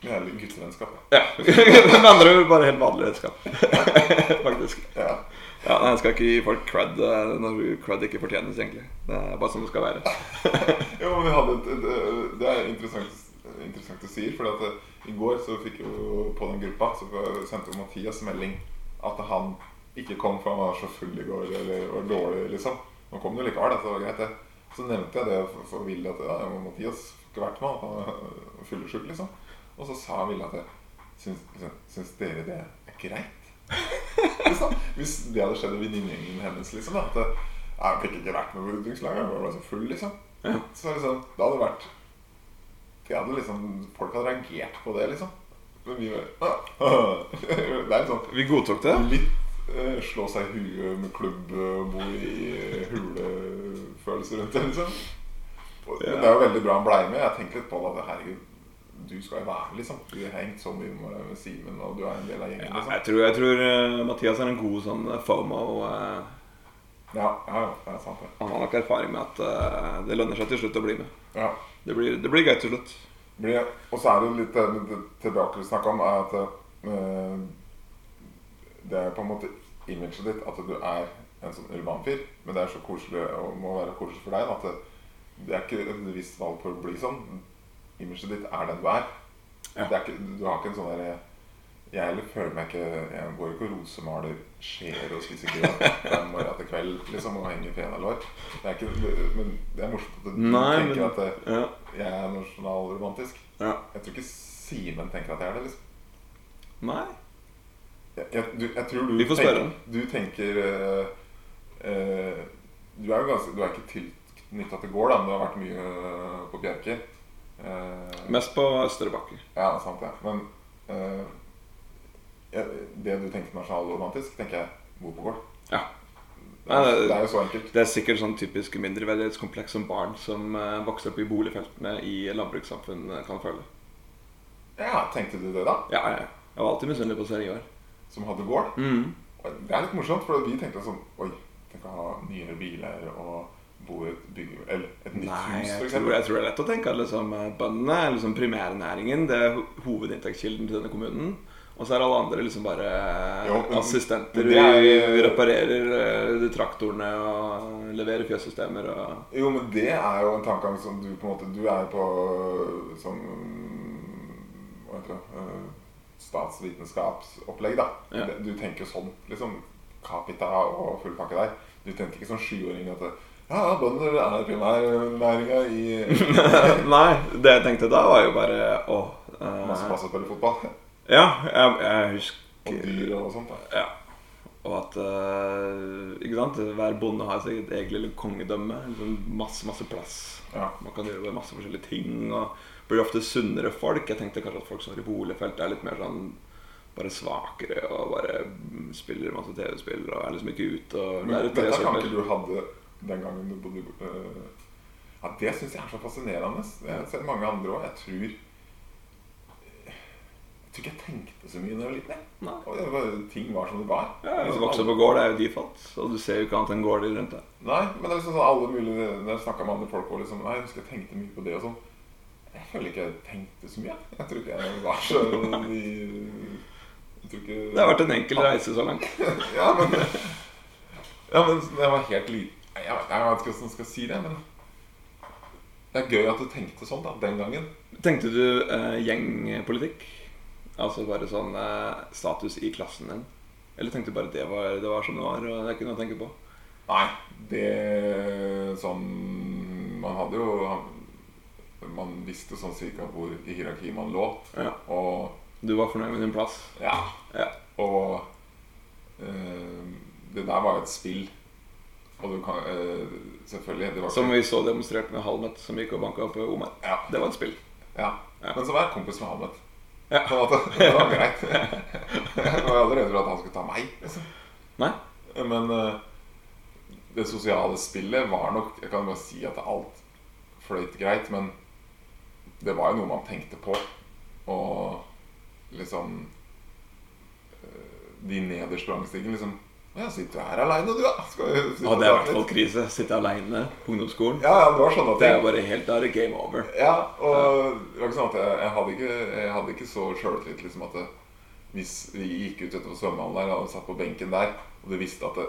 S2: vi er litt guttevennskap. da.
S1: ja. Med andre ord bare helt vanlig vennskap. Faktisk.
S2: Ja.
S1: Ja, nei, Jeg skal ikke gi folk cred eh, når cred ikke fortjenes, egentlig. Det er bare sånn det skal være.
S2: Jo, men vi hadde et, et, et- Det er interessant, interessant du sier. For at eh, i går så fikk jo på den gruppa Så sendte jo Mathias melding at han ikke kom for han var så full i går eller var dårlig, liksom. Nå kom han jo likevel, da, så det var greit, det. Så nevnte jeg det for- for Ville at ja, Mathias skulle vært med, han er fyllesyk, liksom. Og så sa Ville at syns, liksom, syns dere det er greit? liksom. Hvis det hadde skjedd i venninnegjengen hennes, liksom. da, At jeg fikk ikke vært med på utdrikningslaget, jeg ble så full, liksom.
S1: Ja.
S2: Så liksom, det hadde vært det hadde liksom, Folk hadde reagert på det, liksom. Men vi bare Det er litt sånn
S1: Vi godtok det.
S2: Litt eh, slå seg i huet med klubb og bo i eh, hulefølelse rundt det, liksom. Og- Men det er jo veldig bra han blei med. Jeg tenker litt på det. at, Herregud, du skal jo være med, liksom. Du har hengt så mye med med Simen, og du er en del av gjengen.
S1: Ja,
S2: liksom.
S1: jeg tror, jeg tror eh, Mathias er en god sånn FOMO. eh,
S2: Ja, ja, ja, det er sant, det.
S1: han har nok erfaring med at eh, det lønner seg til slutt å bli med.
S2: Ja.
S1: Det blir, det blir gøy til slutt.
S2: Blir- Og så er det jo litt det med det tilbake vi snakka om, er at eh, det er på en måte imaget ditt at du er en sånn urban fyr. Men det er så koselig og må være koselig for deg da, at det, det er ikke et visst valg for å bli sånn. Imaget ditt er den du er.
S1: Ja.
S2: Det er ikke, du har ikke en sånn derre Jeg heller føler meg ikke Jeg går ikke og rosemaler skjeer og spiser grøt fra morgen til kveld liksom, og henger fenalår. Det er ikke Men det er morsomt at du
S1: Nei,
S2: tenker
S1: men-
S2: at det,
S1: Ja.
S2: jeg er nasjonalromantisk.
S1: ja.
S2: Jeg tror ikke Simen tenker at jeg er det. liksom
S1: Nei.
S2: Jeg, jeg, du, jeg tror du
S1: Vi får spørre
S2: tenker, Du tenker eh, eh, Du er jo ganske Du er ikke tilknytta til gård, da, men du har vært mye eh, på Bjerke. Eh,
S1: Mest på Østre Bakke.
S2: ja, sant det. Men eh, jeg, det du tenker nasjonalromantisk, tenker jeg bor på gård.
S1: Ja.
S2: Det
S1: Nei,
S2: er,
S1: det-
S2: det er jo så enkelt.
S1: Det er sikkert sånn typisk mindreverdighetskompleks som barn som eh, vokser opp i boligfeltene i landbrukssamfunn eh, kan føle.
S2: Ja, tenkte du det, da?
S1: Ja, ja. ja. Jeg var alltid misunnelig på seniorer.
S2: Som hadde gård?
S1: Mm.
S2: Og Det er litt morsomt, for vi tenkte sånn Oi, tenk å ha nyere biler og bo i et bygge... Eller et nytt
S1: Nei,
S2: hus, for
S1: jeg tror,
S2: eksempel.
S1: jeg tror det er lett å tenke at liksom, eh, bøndene er liksom primærnæringen. Det er ho- hovedinntektskilden til denne kommunen. Og så er alle andre liksom bare eh,
S2: Jo, men-
S1: assistenter.
S2: men det er-
S1: Vi, vi reparerer eh, de traktorene og leverer fjøssystemer og
S2: Jo, men det er jo en tankegang som du på en måte Du er jo på øh, sånn Hva heter det øh, Statsvitenskapsopplegg, da.
S1: Ja.
S2: Det- Du tenker jo sånn, liksom. Capita og full pakke der. Du tenker ikke som sjuåring at Ja, ja, bønder er primærnæringa i
S1: Nei, det jeg tenkte da, var jo bare åh eh,
S2: Masse plass å spille fotball.
S1: Ja, jeg, jeg
S2: Og
S1: husker
S2: dyr og sånt. da
S1: Ja. Og at eh, ikke sant? hver bonde har sitt eget eget lille kongedømme. Liksom masse, masse plass.
S2: Ja.
S1: Man kan gjøre masse forskjellige ting. Og blir ofte sunnere folk. Jeg tenkte kanskje at folk som er i boligfelt, er litt mer sånn bare svakere og bare mm, spiller masse TV-spill og er liksom ikke ute og
S2: Men
S1: det er jo tre
S2: dette kan
S1: sorter.
S2: ikke du hadde den gangen du bodde i øh, Ja, det syns jeg er så fascinerende. Jeg har sett mange andre òg. Jeg tror Jeg tror ikke jeg tenkte så mye da jeg var liten. jeg.
S1: Nei.
S2: Og det var, ting var som det var.
S1: Ja,
S2: Liksom
S1: jeg vokste opp
S2: alle-
S1: på gård, det er jo default. Og du ser jo ikke annet enn gårder rundt deg.
S2: Nei, men det er liksom sånn alle mulige Når jeg snakka med andre folk og liksom Nei, jeg husker jeg tenkte mye på det og sånn. Jeg føler ikke jeg tenkte så mye. jeg. Jeg tror ikke jeg var så i, Jeg tror ikke
S1: Det har vært en enkel reise så langt.
S2: Ja, men Ja, men jeg var helt liten jeg, jeg vet ikke hvordan jeg skal si det, men Det er gøy at du tenkte sånn da, den gangen.
S1: Tenkte du eh, gjengpolitikk? Altså bare sånn eh, status i klassen din? Eller tenkte du bare det var, det var som det var, og det er ikke noe å tenke på?
S2: Nei, det sånn Man hadde jo Man visste sånn cirka hvor i hierarkiet man lå.
S1: Ja.
S2: Og
S1: Du var fornøyd med din plass?
S2: ja.
S1: Ja.
S2: Og eh, det der var jo et spill. Og du kan eh, Selvfølgelig. Det var
S1: Som
S2: ikke-
S1: vi så demonstrert med Halmet, som gikk og banka opp Omar.
S2: ja.
S1: Det var et spill.
S2: Ja.
S1: Ja.
S2: Men så var jeg kompis med Hamlet.
S1: Ja.
S2: På en måte. Det var greit. Jeg var allerede redd for at han skulle ta meg. liksom.
S1: Nei?
S2: Men eh, det sosiale spillet var nok Jeg kan bare si at alt fløyt greit, men det var jo noe man tenkte på. Og liksom eh, De nederst på rangstigen liksom «Å Ja, sitter du her aleine, du, da? Skal vi sitte
S1: Å, det er i hvert
S2: og prate
S1: fall
S2: litt?»
S1: krise. Sitte aleine på ungdomsskolen.
S2: Ja, ja, det var sånn sånne ting.
S1: Det er bare helt Da er det game over.
S2: Ja, og det var ikke sånn at jeg, jeg, hadde, ikke, jeg hadde ikke så sjøltillit liksom at det, hvis vi gikk ut utover svømmehallen der og satt på benken der, og du visste at det,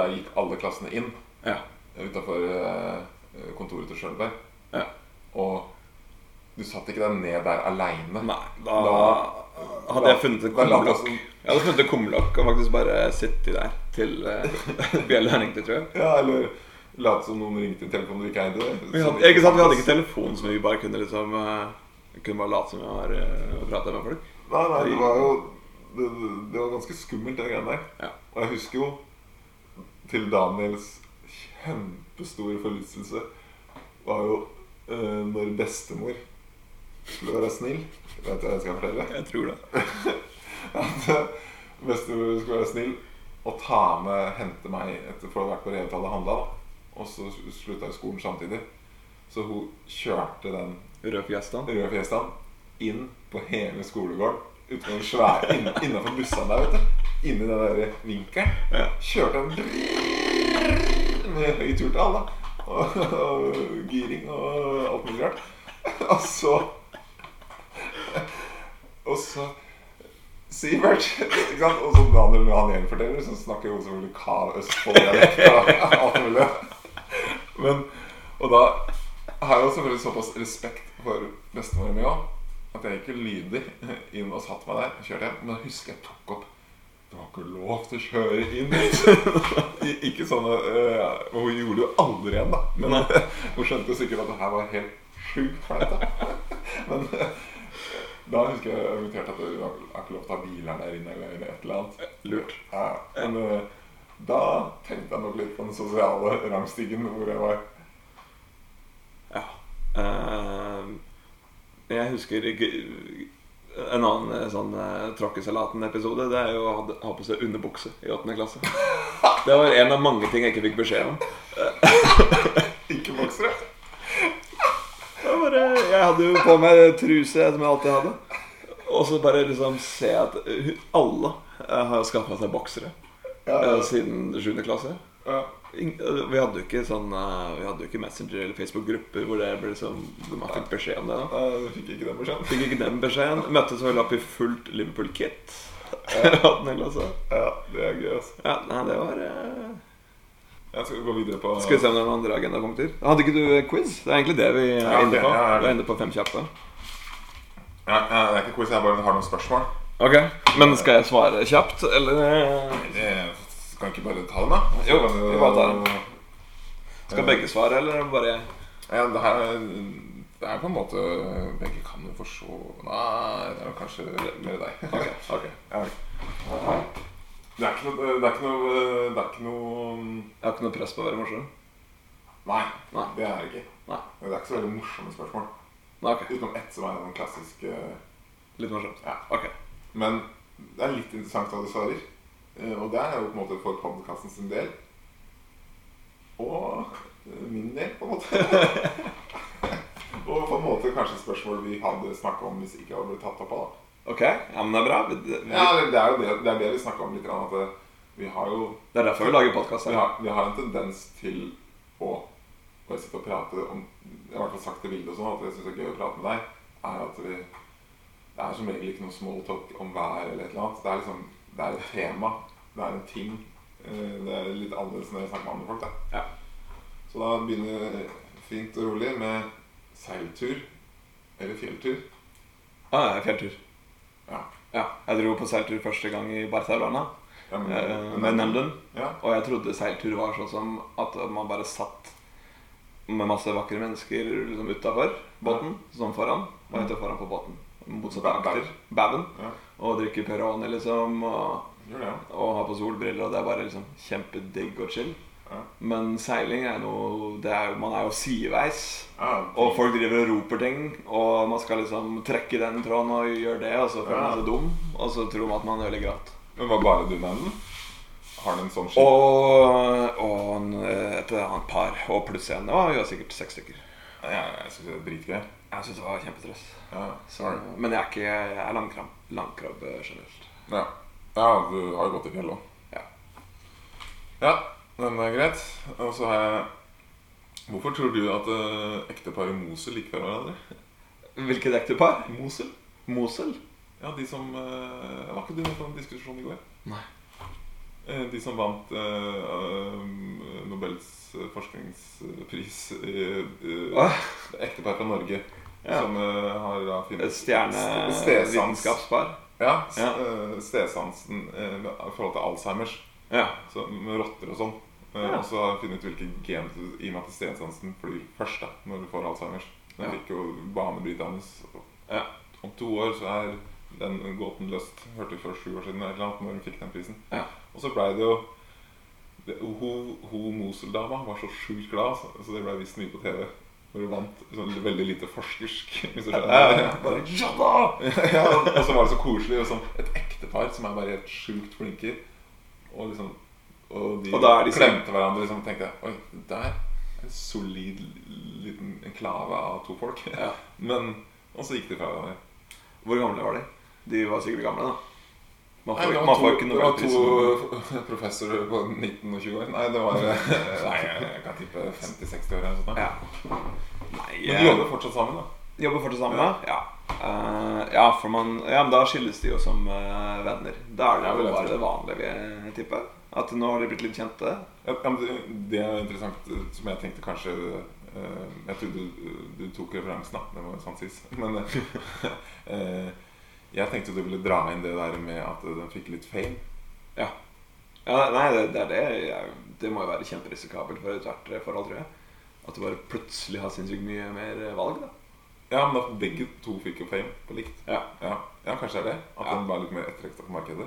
S2: der gikk alle klassene inn
S1: Ja.
S2: utafor kontoret til Schjølberg,
S1: ja.
S2: og du satt ikke deg ned der aleine.
S1: Nei, da
S2: Da-
S1: hadde jeg funnet et
S2: Da la
S1: kumlokk.
S2: plassen-
S1: Jeg hadde funnet et kumlokk og faktisk bare sittet der til uh, bjella ringte, eh, tror jeg.
S2: Ja, eller Late som noen ringte i telefonen du ikke eide.
S1: Vi hadde, ikke sant, vi hadde ikke telefon som vi bare kunne liksom eh, Kunne bare late som vi var eh, og prate med folk.
S2: Nei, nei, det var jo Det, det var ganske skummelt, det greiene der.
S1: Ja.
S2: Og jeg husker jo til Daniels kjempestore forlystelse var jo eh, når bestemor skulle være snill. Vet du hva jeg skal fortelle?
S1: Jeg tror det.
S2: At eh, bestemor skulle være snill og ta med, hente meg etter for å ha vært på Revetallet og handla. Og så slutta jo skolen samtidig. Så hun kjørte den
S1: Rød fiesta.
S2: røde fiestaen inn på hele skolegården. Uten den svære, inn, innenfor bussene der, vet du. Inni den der vinkelen.
S1: Ja.
S2: Kjørte han med høy turtall, da. Og, og giring og alt mulig rart. Og så Og så Sivert. ikke sant? Og som Daniel når han gjenforteller, så snakker jo selvfølgelig Ka Østfold-dialekt og alt mulig. Men, og da har jeg jo selvfølgelig såpass respekt for bestemoren min òg at jeg gikk jo lydig inn og satte meg der. og Kjørte hjem. Men da husker jeg tok opp Det var ikke lov til å kjøre inn. I- ikke sånne eh, Og hun gjorde det jo aldri igjen, da. Men hun skjønte jo sikkert at det her var helt sjukt flaut. da. Men eh, da husker jeg jeg inviterte at det var var ikke lov til å ha biler der inne eller et eller annet.
S1: Lurt.
S2: Ja, men eh, da tenkte jeg nok litt på den sosiale rangstigen hvor jeg var
S1: Ja. Ehm, jeg husker g- en annen eh, sånn eh, tråkkesalaten-episode. Det er jo å ha ha på seg underbukse i åttende klasse. Det var en av mange ting jeg ikke fikk beskjed om.
S2: ikke boksere.
S1: Jeg, bare, jeg hadde jo på meg truse som jeg alltid hadde. Og så bare liksom se at eh, alle eh, har skaffa seg boksere
S2: Ja,
S1: eh, siden 7. klasse.
S2: ja.
S1: Ing- eh, Vi hadde jo ikke sånn eh, Vi hadde jo ikke Messenger eller Facebook-grupper hvor det ble sånn, man fikk beskjed om det. da
S2: Nei, du fikk ikke den beskjeden.
S1: Fikk ikke den beskjeden. Møttes vel opp i fullt Liverpool-kit. ja,
S2: Ja, det er gøy, altså.
S1: nei, det var eh,
S2: Jeg skal gå videre på
S1: Skal vi se om det er noen andre agendapunkter. Hadde ikke du eh, quiz? Det er egentlig det vi er
S2: Ja,
S1: inne
S2: ok,
S1: på.
S2: ja, ja.
S1: Vi er inne på fem kjappe.
S2: Ja, ja, det er ikke quiz, jeg bare har noen spørsmål.
S1: Ok, Men skal jeg svare kjapt, eller eh,
S2: Jeg kan ikke bare ta dem, da? Eh,
S1: Jo, vi bare tar dem. skal begge svare, eller er det bare
S2: Ja, det her er- det er på en måte Begge kan jo for så Nei, det er vel kanskje mer deg. Ok, ok ja, ok. Det er ikke noe Det er ikke noe Det er ikke noe
S1: Jeg har ikke noe press på å være morsom?
S2: Nei,
S1: Nei.
S2: det er det ikke.
S1: Nei.
S2: Men Det er ikke så veldig morsomme spørsmål.
S1: Nei, ok,
S2: Utenom ett som er sånn den klassiske
S1: Litt morsomt.
S2: Ja.
S1: Ok.
S2: Men det er litt interessant hva du svarer. Eh, Og det er jo på en måte for podkasten sin del. Og eh, min del, på en måte. og på en måte kanskje spørsmål vi hadde snakka om hvis ikke hadde blitt tatt opp av. da.
S1: Ok, ja, men det er bra. Vi- Det, vi,
S2: Ja, eller det er jo det, det, er det vi snakka om litt. grann, At eh, vi har jo
S1: det er derfor vi lager podkast
S2: vi
S1: her.
S2: har, vi har en tendens til å bare sitte og prate om Jeg har i hvert fall sagt til Vilde og sånn at jeg syns det er gøy å prate med deg. Er at vi Det er som regel ikke noe small talk om vær eller et eller annet. Det er liksom Det er et tema. Det er en ting. eh, Det er litt annerledes enn det jeg snakker med andre folk, da.
S1: Ja.
S2: Så da begynner vi fint og rolig med seiltur eller fjelltur.
S1: Ah, ja, fjelltur.
S2: Ja.
S1: Ja, jeg dro på seiltur første gang i Barcelona
S2: Ja, men-
S1: eh, med Nemden.
S2: Ja.
S1: Og jeg trodde seiltur var sånn som at man bare satt med masse vakre mennesker liksom utafor båten, sånn foran, og etter foran på båten. Motsatt av
S2: Bab-
S1: akter. Baben.
S2: ja.
S1: Og drikke Peroni, liksom, og,
S2: Gjør det, ja.
S1: og ha på solbriller, og det er bare liksom kjempedigg og chill.
S2: Ja.
S1: Men seiling er noe det er, jo- Man er jo sideveis.
S2: Ja,
S1: Og folk driver og roper ting, og man skal liksom trekke den tråden og gjøre det, og så føler man seg dum, og så tror man at man ødelegger alt.
S2: Men var bare du Nemden? Har du en sånn skinn?
S1: Og, og en, et annet par. Og pluss en. Det var jo sikkert seks stykker.
S2: Ja, jeg syns det er dritgøy.
S1: Jeg syns det var kjempestress.
S2: Ja,
S1: Så, men jeg er ikke jeg er langkram, langkrabbe generelt.
S2: Ja. ja, du har jo gått i fjell òg.
S1: Ja.
S2: Ja, den er greit. Og så har jeg Hvorfor tror du at eh, ektepar i Mosul liker hverandre?
S1: Hvilket ektepar?
S2: Mosul?
S1: Mosel?
S2: Ja, de som eh, Var ikke du med på den diskusjonen i går?
S1: Nei.
S2: Eh, De som vant eh, eh, Nobels eh, forskningspris eh, eh,
S1: Åh,
S2: Ektepar fra Norge
S1: Ja.
S2: som eh, har da funnet Ste- Stesans
S1: Stjernevitenskapspar?
S2: Ja, s-
S1: Ja.
S2: eh, stesansen eh, i forhold til Alzheimers.
S1: Ja.
S2: Så, med rotter og sånn. Eh, Og så har jeg funnet ut hvilke gen du I og med at stedssansen flyr først da når du får Alzheimers. Den
S1: Ja.
S2: fikk jo banebrytende. og
S1: Ja.
S2: Om to år så er den gåten løst. Hørte vi for sju år siden eller noe, når hun fikk den prisen.
S1: Ja.
S2: Og så blei det jo det, Hun, hun Mosul-dama var så sjukt glad, altså. så det blei visst mye på TV. Når hun vant sånn veldig lite forskersk. Hvis du skjønner.
S1: Bare ja da!
S2: ja, og så var det så koselig. Og sånn, et ektepar som er bare helt sjukt flinke. Og liksom Og de,
S1: Og da er de
S2: klemte hverandre liksom, og tenkte Oi, der er en solid liten enklave av to folk.
S1: Ja.
S2: Men Og så gikk de fra hverandre.
S1: Hvor gamle var de? De var sikkert gamle, da. Man
S2: Nei,
S1: får,
S2: det
S1: man
S2: var
S1: får
S2: to,
S1: ikke
S2: det var
S1: Nobelpris for-
S2: to professorer på 19 og 20 år. Nei, det var Nei, jeg kan tippe 50-60 år. Eller noe sånt.
S1: Ja. Nei, eh,
S2: Men de jobber fortsatt sammen, da.
S1: Jobber fortsatt sammen? Ja. Ja. Eh, ja, for man, ja, men da skilles de jo som eh, venner. Da er det
S2: Ja,
S1: jo
S2: vel, jeg
S1: bare
S2: tror
S1: det vanlige, vil jeg tippe. At nå har de blitt litt kjente.
S2: Ja, ja, men det- det er interessant eh, som jeg tenkte kanskje eh, Jeg trodde du, du tok referansen, da. Det var jo sånn sist. Men eh, eh, jeg tenkte du ville dra inn det der med at den fikk litt fame.
S1: Ja, nei, det, det er det. Jeg, det må jo være kjemperisikabelt for ethvert forhold, tror jeg. At du bare plutselig har sinnssykt mye mer eh, valg, da.
S2: Ja, men at begge to fikk jo fame på likt.
S1: Ja.
S2: Ja, ja kanskje det er det. At
S1: Ja.
S2: den var litt mer etterlengta på markedet.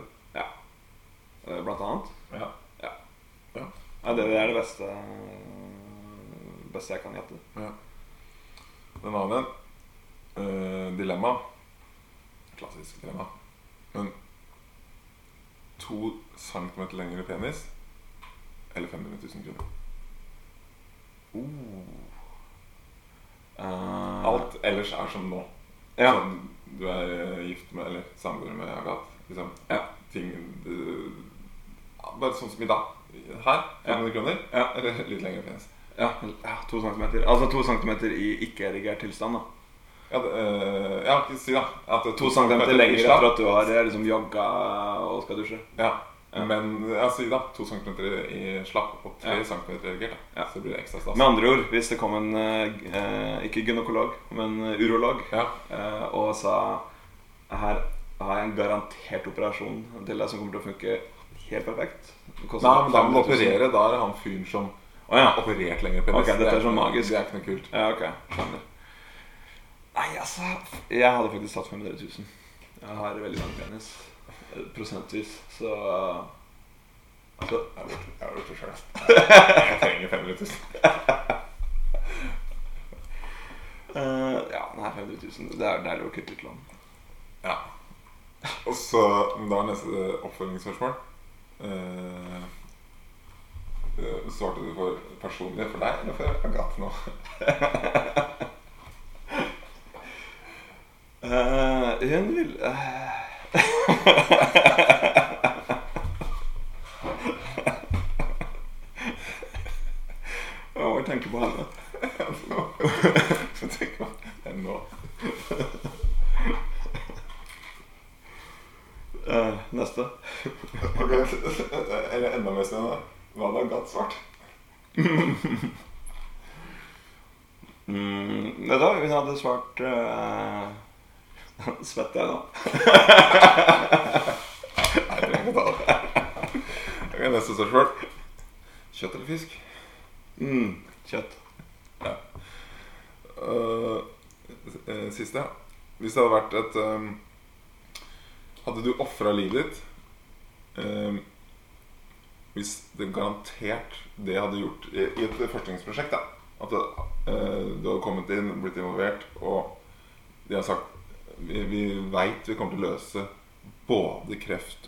S1: Eh, Blant annet.
S2: Ja.
S1: Ja, det, det er det beste eh, beste jeg kan gjette.
S2: Den andre eh, dilemma. Klassisk dilemma. Men to centimeter lengre penis eller 500 000 kroner?
S1: Oh. Eh,
S2: Alt ellers er som nå.
S1: Ja.
S2: Som du er eh, gift med, eller samboer med Agat. Liksom.
S1: Ja.
S2: Ting du, ja, Bare sånn som i dag. Her 500 kroner.
S1: Ja.
S2: Eller litt lengre penis.
S1: Ja, ja, to centimeter. Altså to centimeter i ikke-erigert tilstand, da.
S2: Ja, det, eh, ja, ikke si da at det er
S1: To centimeter lenger
S2: tirsdag.
S1: etter at du har eh, liksom jogga og skal dusje.
S2: Ja.
S1: Ja.
S2: Men ja, si da to centimeter i slapp og tre
S1: Ja.
S2: centimeter erigert. da.
S1: Ja.
S2: Så blir det ekstra stas.
S1: Med andre ord, hvis det kom en eh, g- eh, ikke gynekolog, men urolog
S2: Ja.
S1: eh, og sa Her har jeg en garantert operasjon til deg som kommer til å funke helt perfekt. Det koster
S2: Nei, men da må du
S1: 500 000.
S2: operere. Da er det han fyren som
S1: Å ja.
S2: har operert lengre penis.
S1: Ok, dette
S2: Det
S1: er sånn
S2: ikke-
S1: magisk.
S2: Det er ikke noe kult.
S1: ja. Ok. Skjønner. Nei, altså Jeg hadde faktisk tatt 500 000. Jeg har veldig lang penis. eh, Prosentvis, så Altså
S2: Jeg har gjort- jeg har gjort det sjøl. Jeg trenger 500 000.
S1: eh, Ja, nei, 500 000. Det er deilig å kutte ut lån.
S2: Ja. Og så da er neste oppfølgingsspørsmål. Eh, eh, svarte du for personlig for deg eller for Agathe nå?
S1: Eh, hun vil eh. Jeg må tenke på henne.
S2: Så tenker man, det er nå.
S1: Eh, neste.
S2: Ok, Eller enda mer spennende. Hva hadde Agathe svart?
S1: Mm, vet du hva, hun hadde svart eh, Svetter jeg nå?
S2: Nei, jeg trenger ikke ta det. Ok, Neste spørsmål. Kjøtt eller fisk?
S1: Mm, kjøtt.
S2: Eh, eh, siste. Hvis det hadde vært et eh, Hadde du ofra livet ditt eh, Hvis det garantert det hadde gjort i, i et forskningsprosjekt da, At det, eh, du hadde kommet inn, blitt involvert, og de har sagt Vi, vi veit vi kommer til å løse både kreft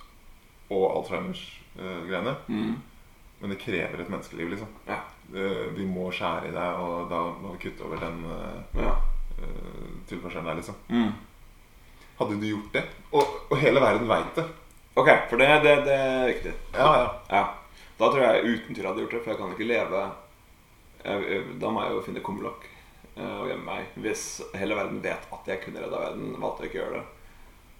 S2: og Alzheimers-greiene, men det krever et menneskeliv, liksom.
S1: Ja.
S2: Eh, vi må skjære i deg, og da må vi kutte over den eh,
S1: Ja.
S2: eh, tilførselen der, liksom.
S1: Mm.
S2: Hadde du gjort det? Og, og hele verden veit det.
S1: Ok, for det, det, det er viktig.
S2: Ja, ja.
S1: Ja. Da tror jeg uten tvil jeg hadde gjort det, for jeg kan ikke leve jeg, jeg- Da må jeg jo finne kumlokk eh, og gjemme meg. Hvis hele verden vet at jeg kunne redda verden, valgte jeg ikke å gjøre det.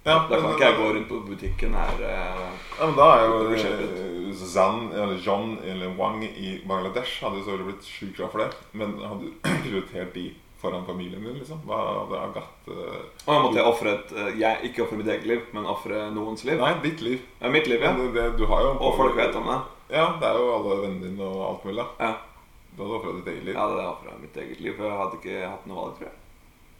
S2: ja
S1: Da kan
S2: men-
S1: ikke jeg gå rundt på butikken her eh,
S2: Ja, men da er jo
S1: Det blir
S2: eh, Zan, eller John eller Wang i Bangladesh hadde jo selvfølgelig blitt sjukt glad for det. Men hadde du prioritert de foran familien din, liksom? Hva hadde Agathe
S1: Og da måtte jeg ofre et eh, jeg, Ikke ofre mitt eget liv, men ofre noens liv.
S2: Nei, ditt liv.
S1: Ja, mitt liv, ja.
S2: Men Det, det, du har jo
S1: Og folk vet om det.
S2: Ja, det er jo alle vennene dine og alt mulig. da.
S1: Ja,
S2: Du hadde ofra ditt eget liv.
S1: ja det ofra mitt eget liv, for jeg hadde ikke hatt noe valg, tror jeg.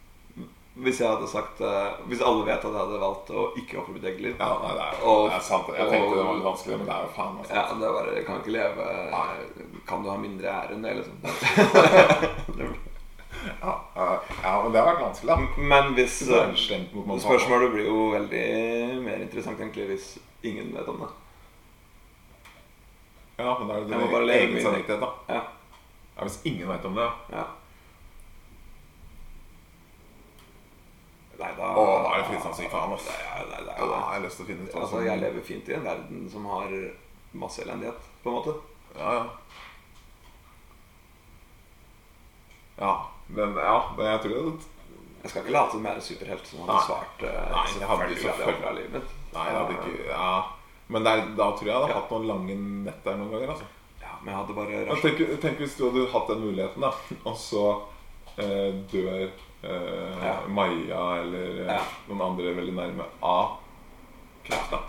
S1: Hvis jeg hadde sagt eh, Hvis alle vet at jeg hadde valgt å ikke ofre mitt eget liv
S2: Ja, nei, det er,
S1: Og-
S2: det er sant. Jeg
S1: og-
S2: tenkte det var litt vanskelig, men det er jo faen altså. meg sant.
S1: Ja, det er bare jeg Kan ikke leve Kan du ha mindre ære enn det, liksom?
S2: Ja, eh, ja, men det har vært vanskelig, da.
S1: Men hvis
S2: Så er det slemt mot mamma.
S1: Spørsmålet blir jo veldig mer interessant egentlig hvis ingen vet om det.
S2: Ja, men da er
S1: Jeg
S2: det din
S1: må bare
S2: egen
S1: leve
S2: egen
S1: min-
S2: samvittighet, da.
S1: Ja.
S2: Ja, Hvis ingen veit om det, ja.
S1: ja. Nei, da
S2: Å, da er det
S1: altså.
S2: fristandssyk faen, ass.
S1: Ja, nei, det er
S2: Ja,
S1: jo
S2: jeg
S1: det.
S2: har lyst til å finne ut hva
S1: Altså, jeg lever fint i en verden som har masse elendighet, på en måte.
S2: Ja, ja. Ja, men ja, det, jeg tror det
S1: Jeg skal ikke late som jeg er en superhelt som hadde
S2: Nei.
S1: svart eh,
S2: Nei, jeg hadde
S1: selvfølgelig hadde
S2: jo
S1: jeg
S2: selvfølgelig-
S1: ofret livet mitt.
S2: Nei, jeg hadde ikke Ja. Men det er, da tror jeg jeg hadde hatt noen lange netter noen ganger, altså.
S1: Ja, men jeg hadde bare
S2: Men
S1: rasjonalisert
S2: Tenk, tenk hvis du hadde hatt den muligheten, da, og så eh, dør eh,
S1: Ja.
S2: Maja eller eh,
S1: Ja.
S2: noen andre veldig nærme av kreft. da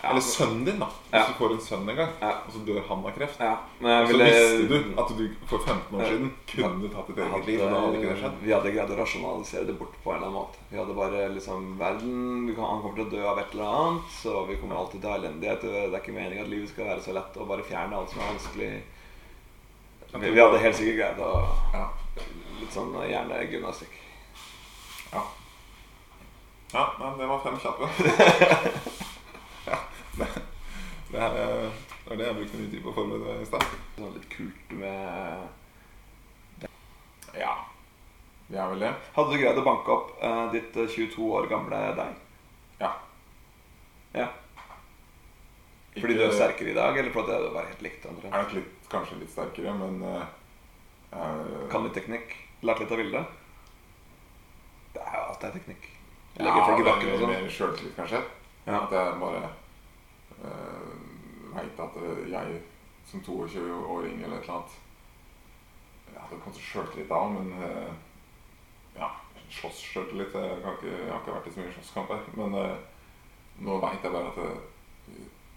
S1: Ja.
S2: Eller sønnen din, da. Hvis
S1: Ja.
S2: du får en sønn en gang,
S1: Ja.
S2: og så dør han av kreft.
S1: Ja, men jeg
S2: Så
S1: ville
S2: visste du at du for 15 år
S1: Ja.
S2: siden kunne tatt ditt eget liv. og Da hadde ikke det skjedd.
S1: eh, Vi hadde greid å rasjonalisere det bort på en eller annen måte. Vi hadde bare liksom Verden vi kan, Han kommer til å dø av et eller annet, så vi kommer alltid til å ha elendighet. Det er ikke meningen at livet skal være så lett, og bare fjerne alt som er vanskelig. Vi, vi hadde helt sikkert greid å
S2: Ja.
S1: Litt sånn hjernegymnastikk.
S2: Ja. ja nei, det var fem kjappe. ja, det, det, er, eh, det var det jeg brukte mye tid på å forberede i stad.
S1: Sånn litt kult med
S2: Ja. Vi er vel det.
S1: Hadde du greid å banke opp eh, ditt eh, 22 år gamle deg?
S2: Ja.
S1: Ja. Fordi du er sterkere i dag, eller fordi det var helt likt?
S2: Jeg er
S1: omtrent?
S2: nok litt, kanskje litt sterkere, men eh, eh,
S1: Kan litt teknikk? Lært litt av Vilde? Det er jo alt er teknikk.
S2: ja,
S1: Legger folk i
S2: det er
S1: bakken og
S2: mer-
S1: sånn.
S2: Mer sjøltillit, kanskje.
S1: Ja.
S2: At jeg bare uh, veit at eh, jeg som 22-åring eller et eller annet Jeg hadde kanskje sjøltillit da, men eh, ja, slåss sjøltillit eh, Jeg kan ikke- jeg har ikke vært i så mye slåsskamper. Men eh, nå veit jeg bare at eh,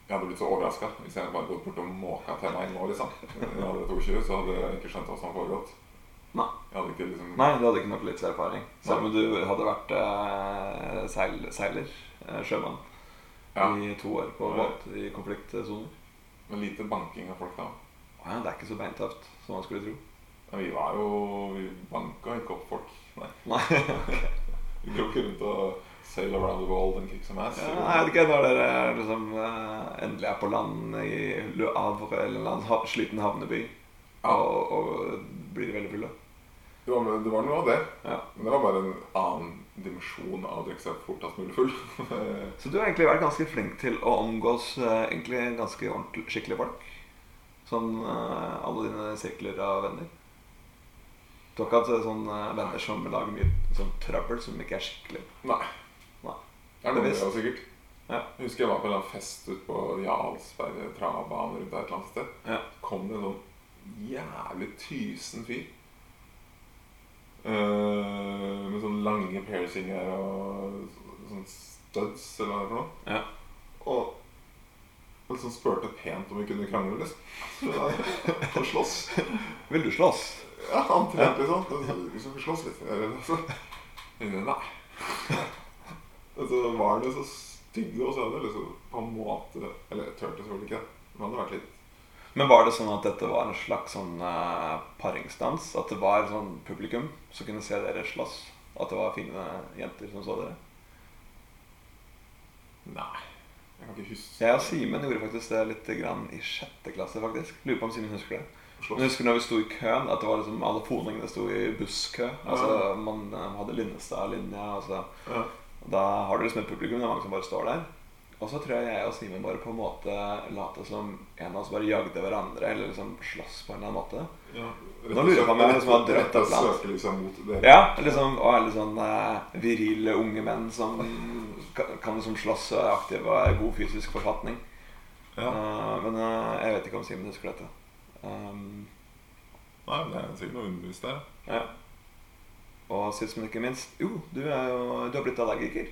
S2: jeg hadde blitt så overraska hvis jeg bare gått bort og måka til meg nå, liksom. Når jeg hadde vært 22, så hadde jeg ikke skjønt hva som hadde foregått.
S1: Nei.
S2: Jeg hadde ikke liksom
S1: Nei, du hadde ikke nok livserfaring. Selv om du hadde vært eh, seil, seiler, eh, sjømann,
S2: Ja.
S1: i to år på
S2: Ja.
S1: båt i konfliktsoner.
S2: Men lite banking av folk da.
S1: Å Ja, det er ikke så beintøft som man skulle tro.
S2: Men vi var jo Vi banka ikke opp folk. Nei.
S1: Nei.
S2: Vi går ikke rundt og sail around the world and kick some ass.
S1: Ja, jeg vet ikke, når dere liksom eh, endelig er på land i Le Havre eller en annen ha sliten havneby
S2: Ja.
S1: og, og blir veldig fulle.
S2: Det, var, det var noe av det.
S1: Ja.
S2: Men det var bare en annen dimensjon av å drikke seg fortest mulig full.
S1: Så du har egentlig vært ganske flink til å omgås eh, egentlig ganske ordentlig, skikkelige folk. Sånn eh, alle dine sirkler av venner. Du har ikke hatt eh, sånne venner som lager mye sånn trøbbel som ikke er skikkelig.
S2: Nei.
S1: Nei.
S2: Det er noe
S1: Bevisst.
S2: det, sikkert.
S1: Ja.
S2: Jeg husker jeg var på en eller annen fest ute på Jarlsberg travbane rundt der et eller annet sted.
S1: Ja.
S2: kom det en sånn jævlig tysen fyr. Eh, med sånne lange piercinger og sånn studs eller hva det er for noe.
S1: Ja.
S2: Og og liksom spurte pent om vi kunne krangle, liksom. Og slåss.
S1: Vil du slåss?
S2: Ja, han trente liksom. Og så, Vi skal slåss litt. Eller, altså. Nei. Og så Altså, var han jo så stygg og så hadde jeg liksom på en måte Eller jeg turte selvfølgelig ikke, det. men han hadde vært litt
S1: Men var det sånn at dette var en slags sånn eh, paringsdans? At det var sånn publikum som kunne se dere slåss? At det var fine jenter som så dere?
S2: Nei. Jeg kan ikke huske
S1: Jeg og Simen gjorde faktisk det litt grann i sjette klasse, faktisk. Lurer på om Simen husker det.
S2: Slåss.
S1: Men jeg husker når vi sto i køen, at det var liksom alle poningene sto i busskø. Altså, Man eh, hadde Linnestad-linja. Altså.
S2: Ja.
S1: Da har du liksom et publikum, det er mange som bare står der. Og så tror jeg jeg og Simen bare på en måte lata som en av oss bare jagde hverandre, eller liksom slåss på en eller annen måte.
S2: Ja.
S1: Nå lurer jeg på om jeg liksom har drømt et eller annet.
S2: Søker liksom mot dere.
S1: Ja, liksom, og er litt sånn eh, virile unge menn som kan, kan liksom slåss og er aktive og er i god fysisk forfatning.
S2: Ja.
S1: Eh, men eh, jeg vet ikke om Simen husker dette. Um,
S2: Nei, men det er sikkert noe underbevisst der.
S1: ja. Og sist, men ikke minst Jo, du, er jo, du har blitt allergiker.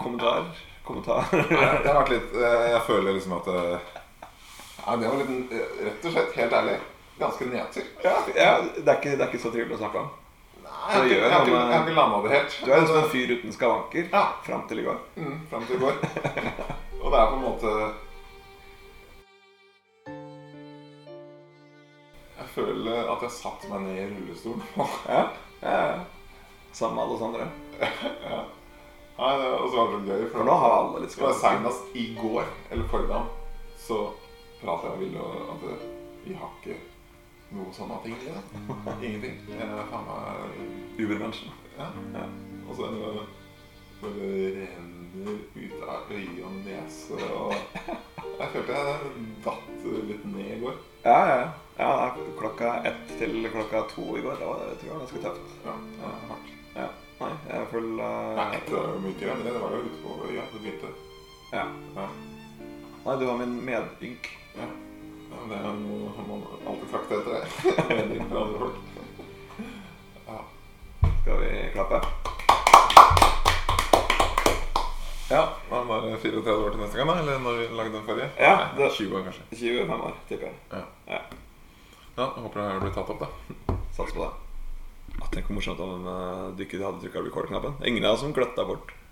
S1: Kommentar. Kommentar.
S2: Det har vært litt eh, Jeg føler liksom at eh, Nei, det var litt eh, Rett og slett, helt ærlig, ganske nedtur.
S1: ja, ja, det, er ikke, det er ikke så trivelig å snakke om.
S2: Nei, jeg
S1: gjør
S2: har
S1: noe
S2: ikke- jeg
S1: med-
S2: har ikke landa det helt.
S1: Du er jo som en fyr uten skavanker
S2: Ja.
S1: fram til i går.
S2: Mm, Fram til i går. Og det er på en måte Jeg føler at jeg satte meg ned i rullestolen.
S1: Ja, ja, ja. Sammen med alle oss andre.
S2: Nei, det var også veldig gøy.
S1: For nå har alle litt
S2: Det var
S1: skavanker.
S2: senest i går, eller formiddag, så pratet jeg med Ville og at det- vi har ikke noe sånne ting i det. Ingenting. Jeg er faen meg
S1: Ubermenschen.
S2: Ja.
S1: Ja.
S2: Og så ender det bare renner ut av øye og nese og Jeg følte jeg datt litt ned i går.
S1: Ja, ja, ja. ja. det er Klokka ett til klokka to i går. Det var, jeg tror jeg var ganske tøft.
S2: Ja, det er hardt.
S1: Ja. Nei, jeg er full eh,
S2: Nei, etter det var det mye greier, men det var jo ute på øya. Det begynte.
S1: Ja.
S2: Ja.
S1: Nei, du har min medynk.
S2: Ja, men det er noe man alltid trakter etter. det. Mening fra andre folk.
S1: Skal vi klappe? Ja.
S2: Var han bare 34 år til neste gang, da? Eller når vi lagde den forrige?
S1: Ja,
S2: Nei,
S1: det-
S2: 20 år, kanskje.
S1: 25 år, tipper jeg.
S2: Ja, jeg Håper det blir tatt opp, da.
S1: Sats på det. Ah, Tenk hvor morsomt om eh, du ikke hadde trykka record-knappen. Ingen av oss som gløtta bort.